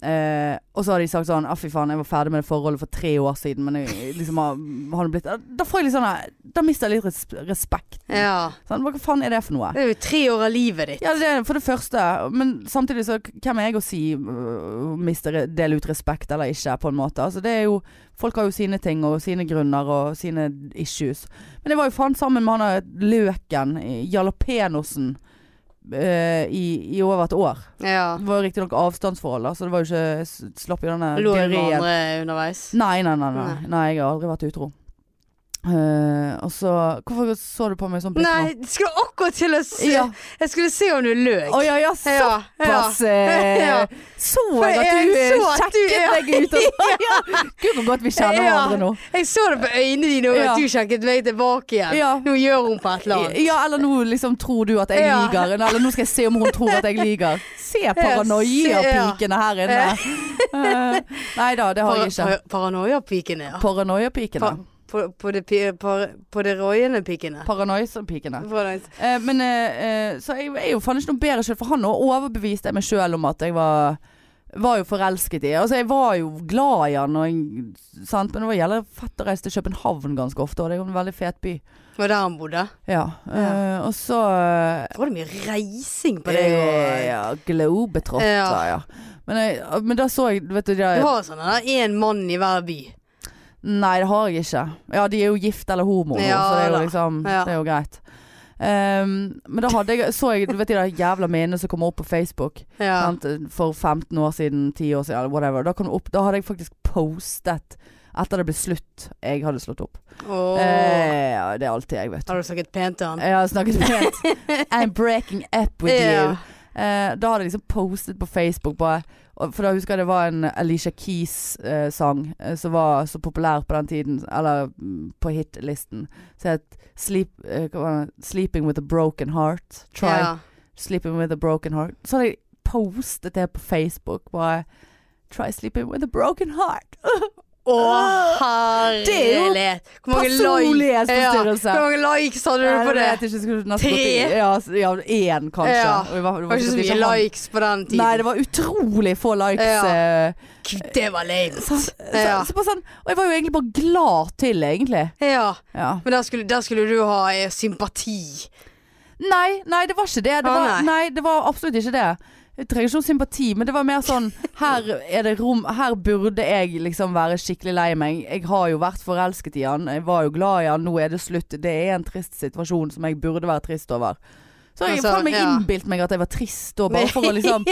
Eh, og så har de sagt sånn Å, fy faen, jeg var ferdig med det forholdet for tre år siden, men jeg, liksom har, har det blitt Da får jeg litt sånn her- Da mister jeg litt res- respekt.
ja.
Sånn, hva faen er det for noe?
Det er jo tre år av livet ditt.
Ja, det er for det første. Men samtidig så k- hvem er jeg å si øh, mister re- dele ut respekt eller ikke, på en måte. Altså, det er jo Folk har jo sine ting og sine grunner og sine issues. Men jeg var jo faen sammen med han der Løken, i- Jalapenosen, øh, i, i over et år.
Ja.
Det var jo riktignok avstandsforhold, da, så det var jo ikke jeg s- Slapp jo denne
Lå du med
diareen.
andre underveis?
Nei, nei, nei, nei.
Nei.
Nei, jeg har aldri vært utro. Eh, og så Hvorfor så du på meg sånn bitt nå?
Nei, jeg skulle akkurat til å se
Ja.
Jeg skulle se om du løk.
Å ja, ja, så
ja, ja.
såpass eh,
Ja.
Så
For
jeg at du
jeg
eh,
så at du-
sjekket
ja.
deg ut og sånn. Ja. Gud, hvor godt vi kjenner
Ja.
hverandre nå.
Jeg så det på øynene dine og
Ja.
at du sjekket meg tilbake igjen.
Ja.
Nå gjør hun på et eller annet.
ja, eller nå liksom tror du at jeg
Ja.
lyver. Eller nå skal jeg se om hun tror at jeg lyver. Se paranoiapikene her inne. Eh, Nei da, det har jeg ikke.
Par- Paranoiapikene, ja.
Paranoiapikene.
Pa- På, på, det, pi- par, på det røyende pikene.
Paranoisapikene.
Hvordan-
Eh, men eh, eh, Så jeg er jo faen ikke noe bedre selv For han også overbeviste jeg meg selv om at jeg var Var jo forelsket i Altså jeg var jo glad i han og jeg, sant? Men det var jævlig fett å reise til København ganske ofte Og det er jo en veldig fet by
Var det der han bodde?
Ja, eh, og så
Var det mye reising på
eh,
deg? og-
Ja, globetrotter
Ja.
ja. Men, jeg, eh, men da så jeg Vet du, de
Du
har,
har sånn der én mann i hver by.
Nei, det har jeg ikke Ja, de er jo gift eller homo nå,
Ja,
Så det er
da.
jo liksom
Ja.
Det er jo greit Ehm, men da hadde jeg, så jeg, du vet de der jævla minnene som kommer opp på Facebook
Ja.
sant? For 15 år siden, 10 år siden, eller whatever. Da, kom det opp, da hadde jeg faktisk postet etter det ble slutt. Jeg hadde slått opp.
Åh.
Eh, ja, det er alltid jeg, vet du.
Har du snakket pent til han?
Jeg har snakket med I'm breaking up with
Ja.
you. Eh, da hadde jeg liksom postet på Facebook bare og- For da husker jeg det var en Alicia Keys-sang eh, som var så populær på den tiden, eller mm, på hitlisten. Så het Sleep, eh, hva var det? 'Sleeping with a Broken Heart'. Try
Ja.
Sleeping with a broken heart. Så hadde jeg postet det på Facebook. Bare Try sleeping with a broken heart.
Å,
Ah, Det er jo
herlighet! Hvor mange likes
Personlighetsforstyrrelse.
Hvor mange likes hadde
Ja,
du på det?
vet ikke, jeg skulle nesten
Tre?
gått i- Ja, s- ja, én kanskje.
Ja.
Og i hvert fall-
Det var ikke så mye
han-
likes på den tiden.
Nei, det var utrolig få likes.
Ja.
eh,
Gud, det var lame.
sant? Så,
Ja.
så bare sånn, og jeg var jo egentlig bare glad til, egentlig.
Ja,
Ja.
men der skulle, der skulle du ha eh, sympati.
Nei, nei, det var ikke
Å,
det. det
nei.
var, nei, det var absolutt ikke det. Jeg trenger ikke noe sympati, men det var mer sånn Her er det rom Her burde jeg liksom være skikkelig lei meg. Jeg har jo vært forelsket i han. Jeg var jo glad i han. Nå er det slutt. Det er en trist situasjon som jeg burde være trist over. Så har jeg
Altså,
faen meg
ja.
innbilt meg at jeg var trist, og bare for å liksom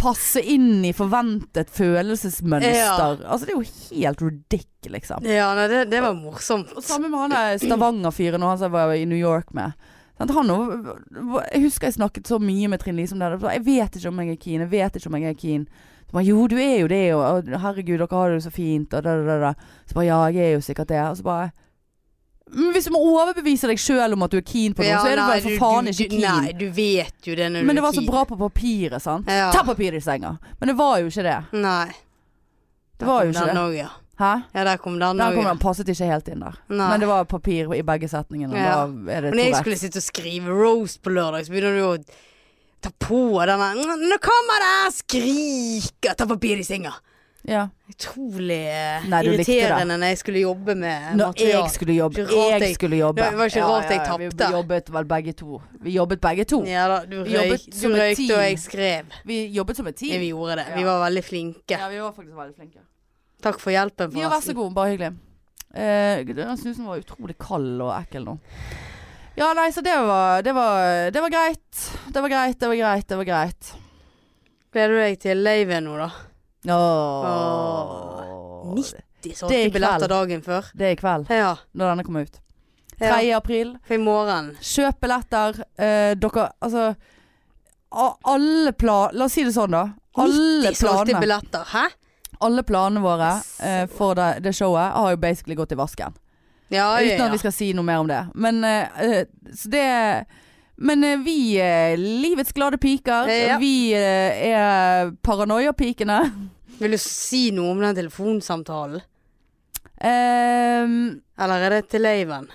passe inn i forventet følelsesmønster. Altså, det er jo helt ridiculous, liksom.
Ja, nei, det, det var morsomt.
Og samme med han der Stavanger-fyren og han som jeg var i New York med. Sant, Han også, jeg husker jeg snakket så mye med Trine Lise om det. Jeg bare, Jeg vet ikke om jeg er keen, jeg vet ikke om jeg er keen. Så bare, jo, du er jo det, og og herregud, dere har det jo så fint, og da, da, da, da. Så bare, ja, jeg er jo sikkert det. Og så bare Men hvis du må overbevise deg sjøl om at du er keen på noe,
Ja,
så er du
nei,
bare for faen
du-
ikke
du-
keen.
Nei, du vet jo det når du
Men det
er
var så
keen.
bra på papiret, sant.
Ja.
Ta papiret i senga. Men det var jo ikke det.
Nei.
Det var jo
Der kom
ikke
den
det.
også, ja.
Hæ?
ja, der kom den
Der
òg.
kom den, passet ikke helt inn der.
Nei.
Men det var papir i begge setningene. og
Ja.
Da er det
Men når jeg
Tourettes.
skulle sitte og skrive roast på lørdag, så begynner du å ta på denne Nå kommer det! Skriker! Ta papir i senga.
Ja.
Utrolig eh,
Nei, du likte det.
irriterende når jeg skulle jobbe med
Når jeg
materiale.
skulle jobbe.
Ikke rart
Jeg
jeg-
skulle jobbe.
Det var ikke rart jeg
Vi
tapte.
jobbet vel begge to. Vi jobbet begge to.
Ja da, du,
Vi
røyk,
jobbet
du
som et
røykte, og
team.
jeg skrev.
Vi jobbet som et
Ja,
team.
vi gjorde det. Vi
Ja.
var veldig flinke.
Ja, vi var faktisk veldig flinke.
Takk for hjelpen,
Ja, vær så
forresten.
god. Bare hyggelig. Eh, den snusen var utrolig kald og ekkel nå. Ja, nei, så det var, det var Det var greit. Det var greit, det var greit, det var greit.
Gleder du deg til laven nå, da?
Åh.
90
Det er
solgte
i
billetter
kveld.
dagen før.
Det er i kveld,
Ja.
når denne kommer ut.
ja.
3. april.
For i morgen.
Kjøp billetter. Eh, dere Altså a- Alle plan... La oss si det sånn, da. Alle
90 solgte
planene,
billetter. Hæ?
alle planene våre eh, for det, det showet har jo basically gått i vasken.
Ja, ja,
Uten at
ja.
vi skal si noe mer om det. Men, eh, eh, så det men eh, vi er livets glade piker.
Eh, ja.
Vi eh, er paranoiapikene.
Vil du si noe om den telefonsamtalen?
Ehm,
Eller er det til laven?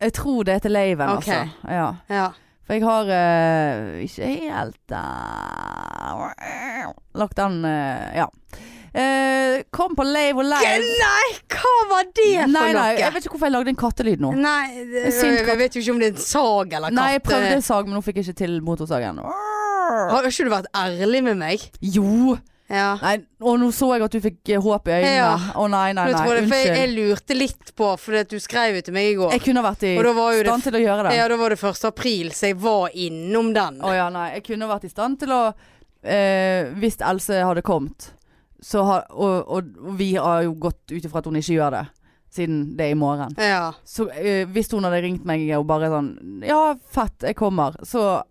jeg tror det er til Laven,
Ok.
altså. Ja.
Ja.
For jeg har eh, ikke helt eh, lagt den eh, Ja. Eh, kom på Lave og Live.
Nei, hva var det for
Nei, nei,
noe?
jeg vet ikke hvorfor jeg lagde en kattelyd nå.
Nei, det-
En sint
jeg vet jo ikke om det er en sag eller katt. Eh,
Nei, jeg prøvde en sag, men nå fikk jeg ikke til motorsagen.
Har ikke du vært ærlig med meg?
Jo!
Ja.
Nei, og nå så jeg at du fikk eh, håp i øynene. Å
Ja.
nei, nei,
Men jeg
nei.
tror det, for jeg,
Unnskyld.
jeg lurte litt på, for at du skrev jo til meg i går.
Jeg kunne vært i
Og da var jo det
stand til å gjøre det.
Ja, da var det 1. april, så jeg var innom den.
Å ja, nei. Jeg kunne vært i stand til å eh, Hvis Else hadde kommet, så har og, og, og vi har jo gått ut ifra at hun ikke gjør det, siden det er i morgen.
Ja.
Så eh, hvis hun hadde ringt meg og bare sånn Ja, fett, jeg kommer. Så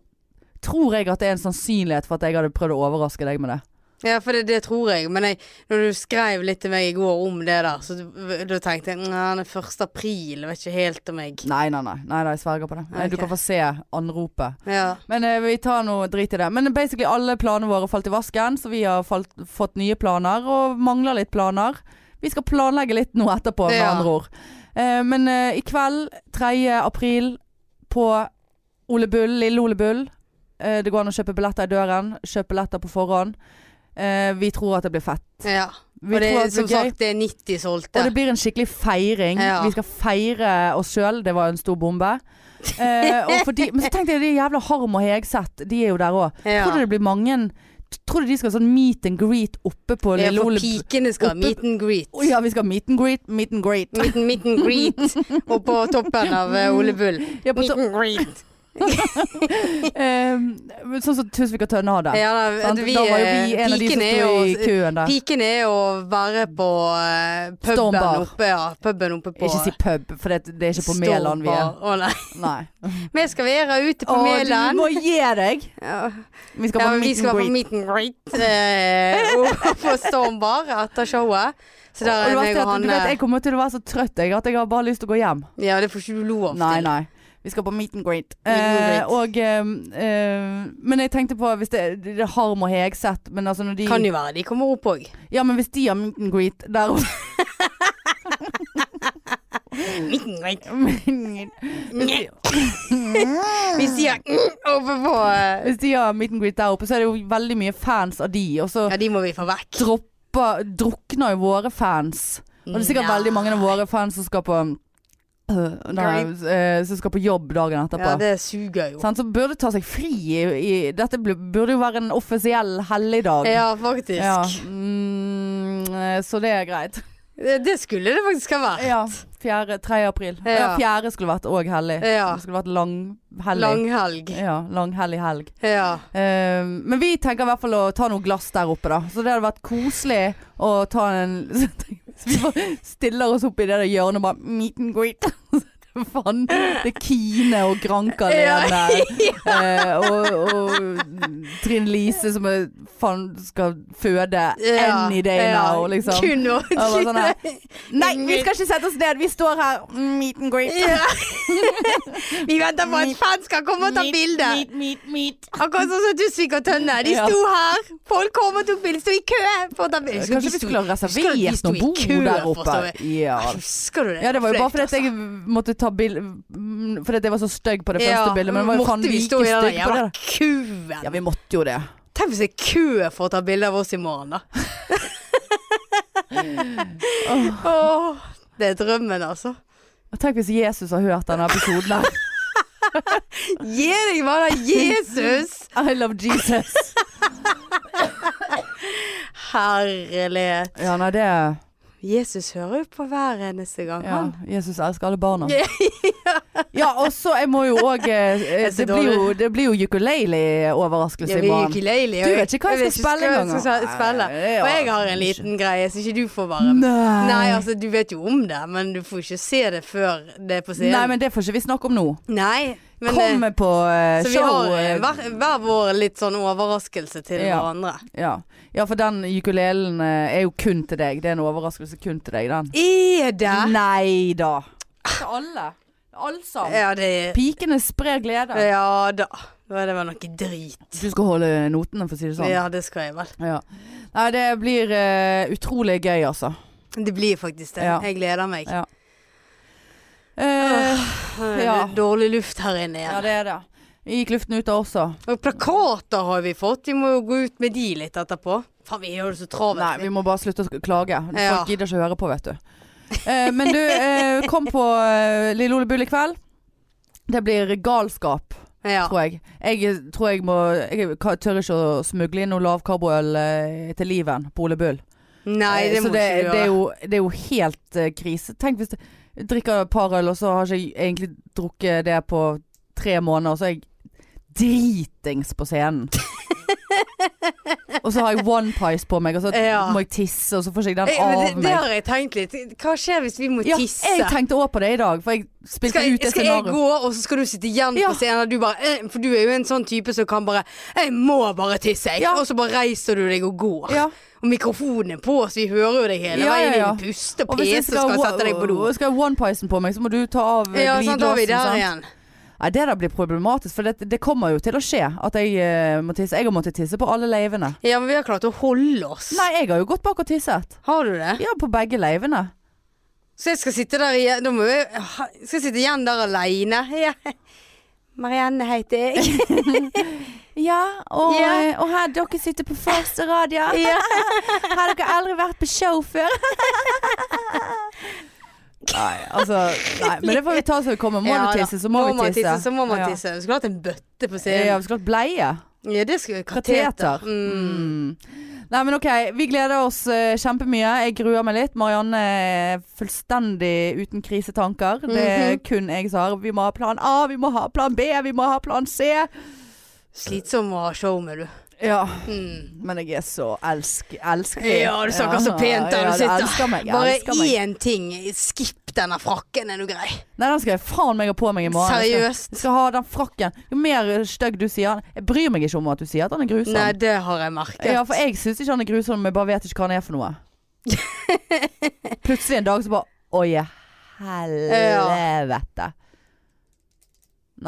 tror jeg at det er en sannsynlighet for at jeg hadde prøvd å overraske deg med det.
Ja, for det, det tror jeg. Men jeg, når du skrev litt til meg i går om det der, så du- da tenkte jeg Nei, det er 1. april, jeg vet ikke helt om jeg
Nei, nei, nei. nei, nei jeg sverger på det. Nei, Du
Ok.
kan få se anropet.
Ja.
Men eh, vi tar noe drit i det. Men basically alle planene våre falt i vasken, så vi har falt, fått nye planer og mangler litt planer. Vi skal planlegge litt nå etterpå, med
Ja.
andre ord. Eh, men eh, i kveld, 3. april, på Ole Bull, Lille Ole Bull. Eh, det går an å kjøpe billetter i døren. Kjøp billetter på forhånd. Eh, vi tror at det blir fett.
ja.
Vi
Og det,
tror at det
som
blir gøy.
sagt, det er 90
Og det
solgte.
blir en skikkelig feiring.
Ja.
Vi skal feire oss sjøl. Det var en stor bombe. Eh, og fordi, men så tenkte jeg de jævla Harm og Hegseth, de er jo der òg.
Ja.
Tror du det blir mange Tror du de skal ha sånn meet and greet oppe på
Ja,
Lille
for
Ole
pikene skal ha
oppe-
meet and greet.
Å ja, vi skal ha meet and greet, meet and greet.
Meet, and- meet and greet og på toppen av eh, Ole Bull.
Ja, på
Meet
så,
and greet.
eh, sånn som Tusvik og Tønne har det.
Ja, da,
sant?
vi,
da var jo vi
eh,
en av de som
pikene er
sto i
jo-
køen der.
Piken er å være på eh, puben
Stormbar.
oppe, ja, puben oppe på
Ikke si pub, for det, det er ikke på
Stormbar.
Mæland vi er.
Å, nei.
Nei.
Vi skal være ute på
Å, du
Mæland.
må gi deg!
Ja,
Vi skal
ja,
på
vi
meet
skal være
and
på
greet.
meet and greet eh, og på Stormbar etter showet. Så der
Og
er
du vet
meg
at-
og han
du vet,
eh,
jeg kommer til å være så trøtt jeg, at jeg har bare lyst til å gå hjem.
Ja, det får ikke du lov
Nei,
til.
nei. Vi skal på meet and greet.
Meet and greet.
Eh, og, ehm, ehm, men jeg tenkte på hvis det, det er Harm og Hegseth Men altså når de
Kan jo være de kommer opp òg.
Ja, men hvis de har meet and greet der oppe
Meet and greet.
Hvis
Nye. Vi sier oppe på eh,
de har meet and greet der oppe, så er det jo veldig mye fans av de. Og så
Ja, de må vi få vekk.
dropper, drukner jo våre fans. Og det er sikkert
Nei.
veldig mange av våre fans som skal på øh, nei, øh, som skal på jobb dagen etterpå.
Ja, det suger jo.
Sant, så burde ta seg fri i, i Dette bl- burde jo være en offisiell helligdag.
Ja, faktisk.
Ja, mm, eh, så det er greit.
Det, det skulle det faktisk ha vært.
Ja, 4, 3. april.
Ja.
Ja, 4. skulle vært òg hellig.
Ja.
Det skulle vært langhellig.
Langhelg.
Ja, langhellig helg.
Ja.
Eh, men vi tenker i hvert fall å ta noe glass der oppe, da. Så det hadde vært koselig å ta en Vi bare stiller oss opp i det der hjørnet og bare meet and greet. Faen. Det er Kine og Granka
Ja.
alene. eh, og, og Trine Lise som er, faen skal føde
Ja.
any day
Ja.
now, liksom.
Kun å
bare sånn her. Nei, vi skal ikke sette oss ned. Vi står her. Meet and greet.
Ja. Vi venter på at fans skal komme og ta
Meet,
bilde.
Meet, meet, meet.
Akkurat sånn som Tusvik og Tønne. De
Ja.
sto her. Folk kom og tok bilde. Sto i kø for å ta bilde.
Kanskje vi skulle ha
husker du de
reservert
sto i
noe bord
kø
der
for å
oppe.
stå
Ja.
Husker du det?
ja, det var jo
Flaut,
bare fordi at
altså.
jeg måtte ta bilde Fordi at jeg var så stygg på det første
Ja,
bildet. Men det var jo faen
måtte vi
like
stå i den der
stygg på
jævla
det.
køen?
Ja, vi måtte jo det.
Tenk hvis det er kø for å ta bilde av oss i morgen, da. Åh, det er drømmen, altså.
Og Tenk hvis Jesus har hørt denne episoden her.
Gi deg bare Jesus!
I love Jesus.
Herlighet.
Ja, nei, det
Jesus hører jo på hver eneste gang,
Ja,
han.
Jesus elsker alle barna.
Ja.
Ja, og så jeg må jo òg
er så
det, blir jo- det blir jo ukulele-overraskelse i morgen.
ukulele.
Du vet ikke hva jeg skal spille engang.
Jeg skal spille. Og jeg har en liten greie, så ikke du får være med.
Nei.
Nei, altså du vet jo om det, men du får ikke se det før det er på scenen.
Nei, men det får ikke vi snakke om nå.
Nei, men eh,
Kom på eh,
Så vi
show.
har eh,
eh,
hver, hver vår litt sånn overraskelse til
Ja.
hverandre.
ja. ja, for den ukulelen eh, er jo kun til deg. Det er en overraskelse kun til deg, den.
Er det?
Nei da. Til alle. Altså. Allsang.
Ja, det
Pikene sprer glede.
Ja da. Det var- Det var noe drit.
Du skal holde notene, for å si det sånn.
Ja, det skal jeg vel.
Ja. Nei, det blir eh, utrolig gøy, altså.
Det blir faktisk det.
Ja.
Jeg gleder meg.
Ja. Eh,
Det
ja.
er Dårlig luft her inne
ja,
igjen.
det er det. Vi gikk luften ut da også.
Og plakater har vi fått. Vi må jo gå ut med de litt etterpå. Faen, vi gjør det så
Nei,
travelt.
vi må bare slutte å sk- klage. Folk
Ja.
gidder ikke å høre på, vet du. Eh, men du, eh, kom på eh, Lille Ole Bull i kveld. Det blir galskap,
Ja.
tror jeg. Jeg tror jeg må Jeg ka- tør ikke å smugle inn noe lavkarboøl eh, til liven på Ole Bull.
Nei,
Eh,
det
så
må
det,
ikke du
det,
gjøre.
er jo, det er jo helt eh, krise. Tenk hvis det- jeg drikker et par øl, og så har ikke jeg egentlig drukket det på tre måneder, og så er jeg dritings på scenen. og så har jeg one pies på meg, og så
Ja.
må jeg tisse, og så får ikke jeg den
Eh, men Det,
av
det
meg.
har jeg tenkt litt. Hva skjer hvis vi må
Ja,
tisse?
jeg tenkte også på det i dag, for jeg spilte
Skal,
ut det
skal jeg
scenarioet.
gå, og så skal du sitte igjen
Ja.
på scenen? og Du bare, eh, for du er jo en sånn type som kan bare 'Jeg må bare tisse', jeg.
Ja.
Og så bare reiser du deg og går.
Ja.
Og mikrofonen er på, så vi hører jo deg hele
Ja,
veien.
ja, ja.
Din puste og
Og hvis
pese
jeg
skal,
skal,
skal
ha-
sette deg på do.
og skal jeg ha one piesen på meg, så må du ta av eh,
Ja, sant, da er vi der
glidelåsen. sant?
igjen.
Nei, det der blir problematisk, for det, det kommer jo til å skje at jeg eh, må tisse. Jeg har måttet tisse på alle leivene.
Ja, men vi har klart å holde oss.
Nei, jeg har jo gått bak og tisset.
Har du det?
Ja, på begge leivene.
Så jeg skal sitte der igjen Da må jeg ha- Skal jeg sitte igjen der aleine. Ja. Marianne heter jeg.
Ja, og, eh,
Ja.
og her dere sitter på første rad, ja.
Ja.
Har dere aldri vært på show før? Nei, altså nei, Men det får vi ta så det kommer. Må
Ja,
du
da.
tisse, så må, vi tisse.
tisse, så må man
Ja.
tisse. Du skulle hatt en bøtte på
Ja,
scenen.
vi skulle hatt bleie.
Ja, det skulle
Kateter.
Mm.
Mm. Nei, men OK. Vi gleder oss eh, kjempemye. Jeg gruer meg litt. Marianne er fullstendig uten krisetanker. Det er kun jeg som har Vi må ha plan A, vi må ha plan B, vi må ha plan C.
Slitsom å ha show med, du.
Ja.
Mm.
Men jeg er så elsk, elskelig.
Ja, du snakker så pent der
Ja,
du sitter.
elsker meg. jeg
Bare
elsker meg.
én ting. Skipp denne frakken, er du grei?
Nei, den skal jeg faen meg ha på meg i morgen. Jeg skal-
Seriøst?
Jeg skal ha den frakken. Jo mer stygg du sier Jeg bryr meg ikke om at du sier at han er grusom.
Nei, det har jeg merket.
ja, for jeg syns ikke han er grusom, men jeg bare vet ikke hva han er for noe. Plutselig en dag så bare Oi, helvete. Nei.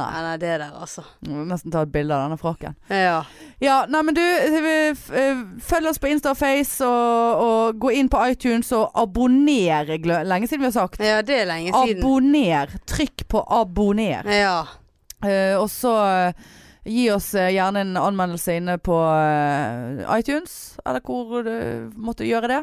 Nei, nei, det der, altså.
Jeg må nesten ta et bilde av denne frakken.
Ja.
Ja, nei men du, eh, f- eh, følg oss på Insta og Face, og, og gå inn på iTunes og abonner. Glø- Lenge siden vi har sagt.
ja, det er lenge siden.
Abonner. Trykk på abonner.
ja.
Eh, og så eh, gi oss eh, gjerne en anmeldelse inne på eh, iTunes, eller hvor du måtte gjøre det.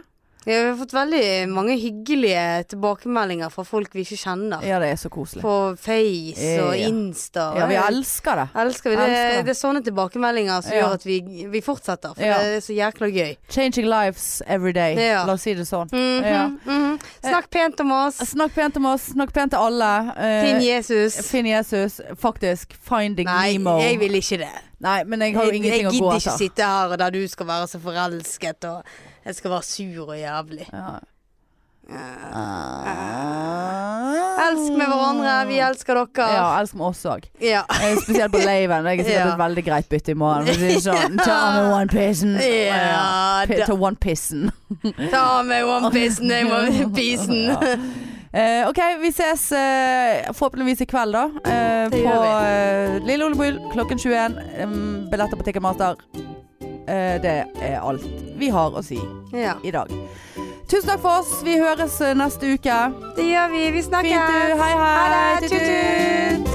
Ja, vi har fått veldig mange hyggelige tilbakemeldinger fra folk vi ikke kjenner.
Ja, det er så koselig.
På Face og
Ja.
Insta.
Ja, vi elsker det.
Elsker vi. Det,
Elsker det.
det er sånne tilbakemeldinger som
Ja.
gjør at vi, vi fortsetter. For
Ja.
det er så jækla gøy.
Changing lives every day.
Ja.
La oss si det sånn.
Mhm,
Ja.
mhm. Snakk pent om oss.
Snakk pent om oss, snakk pent til alle. Eh,
Finn Jesus.
Finn Jesus. Faktisk. Finding
Nei,
Nemo.
jeg vil ikke det.
Nei, men jeg har jo
Jeg, jeg
ingenting å gå
gidder ikke
etter.
sitte her og der du skal være så forelsket, og jeg skal være sur og jævlig.
Ja.
Ah. Elsk med hverandre. Vi elsker dere.
Ah. Ja, elsk meg oss òg.
Ja.
Spesielt på laven. Jeg er sikkert
Ja.
et veldig greit bytte i morgen. for å si det Sånn, ta med one pissen.
Ja,
P-
da.
Ta one pissen.
Ta med onepiecen, jeg må pisen.
Ja. Eh, OK, vi ses eh, forhåpentligvis i kveld, da. eh,
Mm, Det
på
gjør
eh, Lille Olepol klokken 21. Um, billetter på Ticketmaster. Eh, det er alt vi har å si
Ja.
i dag. Tusen takk for oss. Vi høres eh, neste uke.
Det gjør vi. Vi
Fint, du.
snakkes.
Hei, hei.
Ha det. Tut,
Tut, tut.
tut.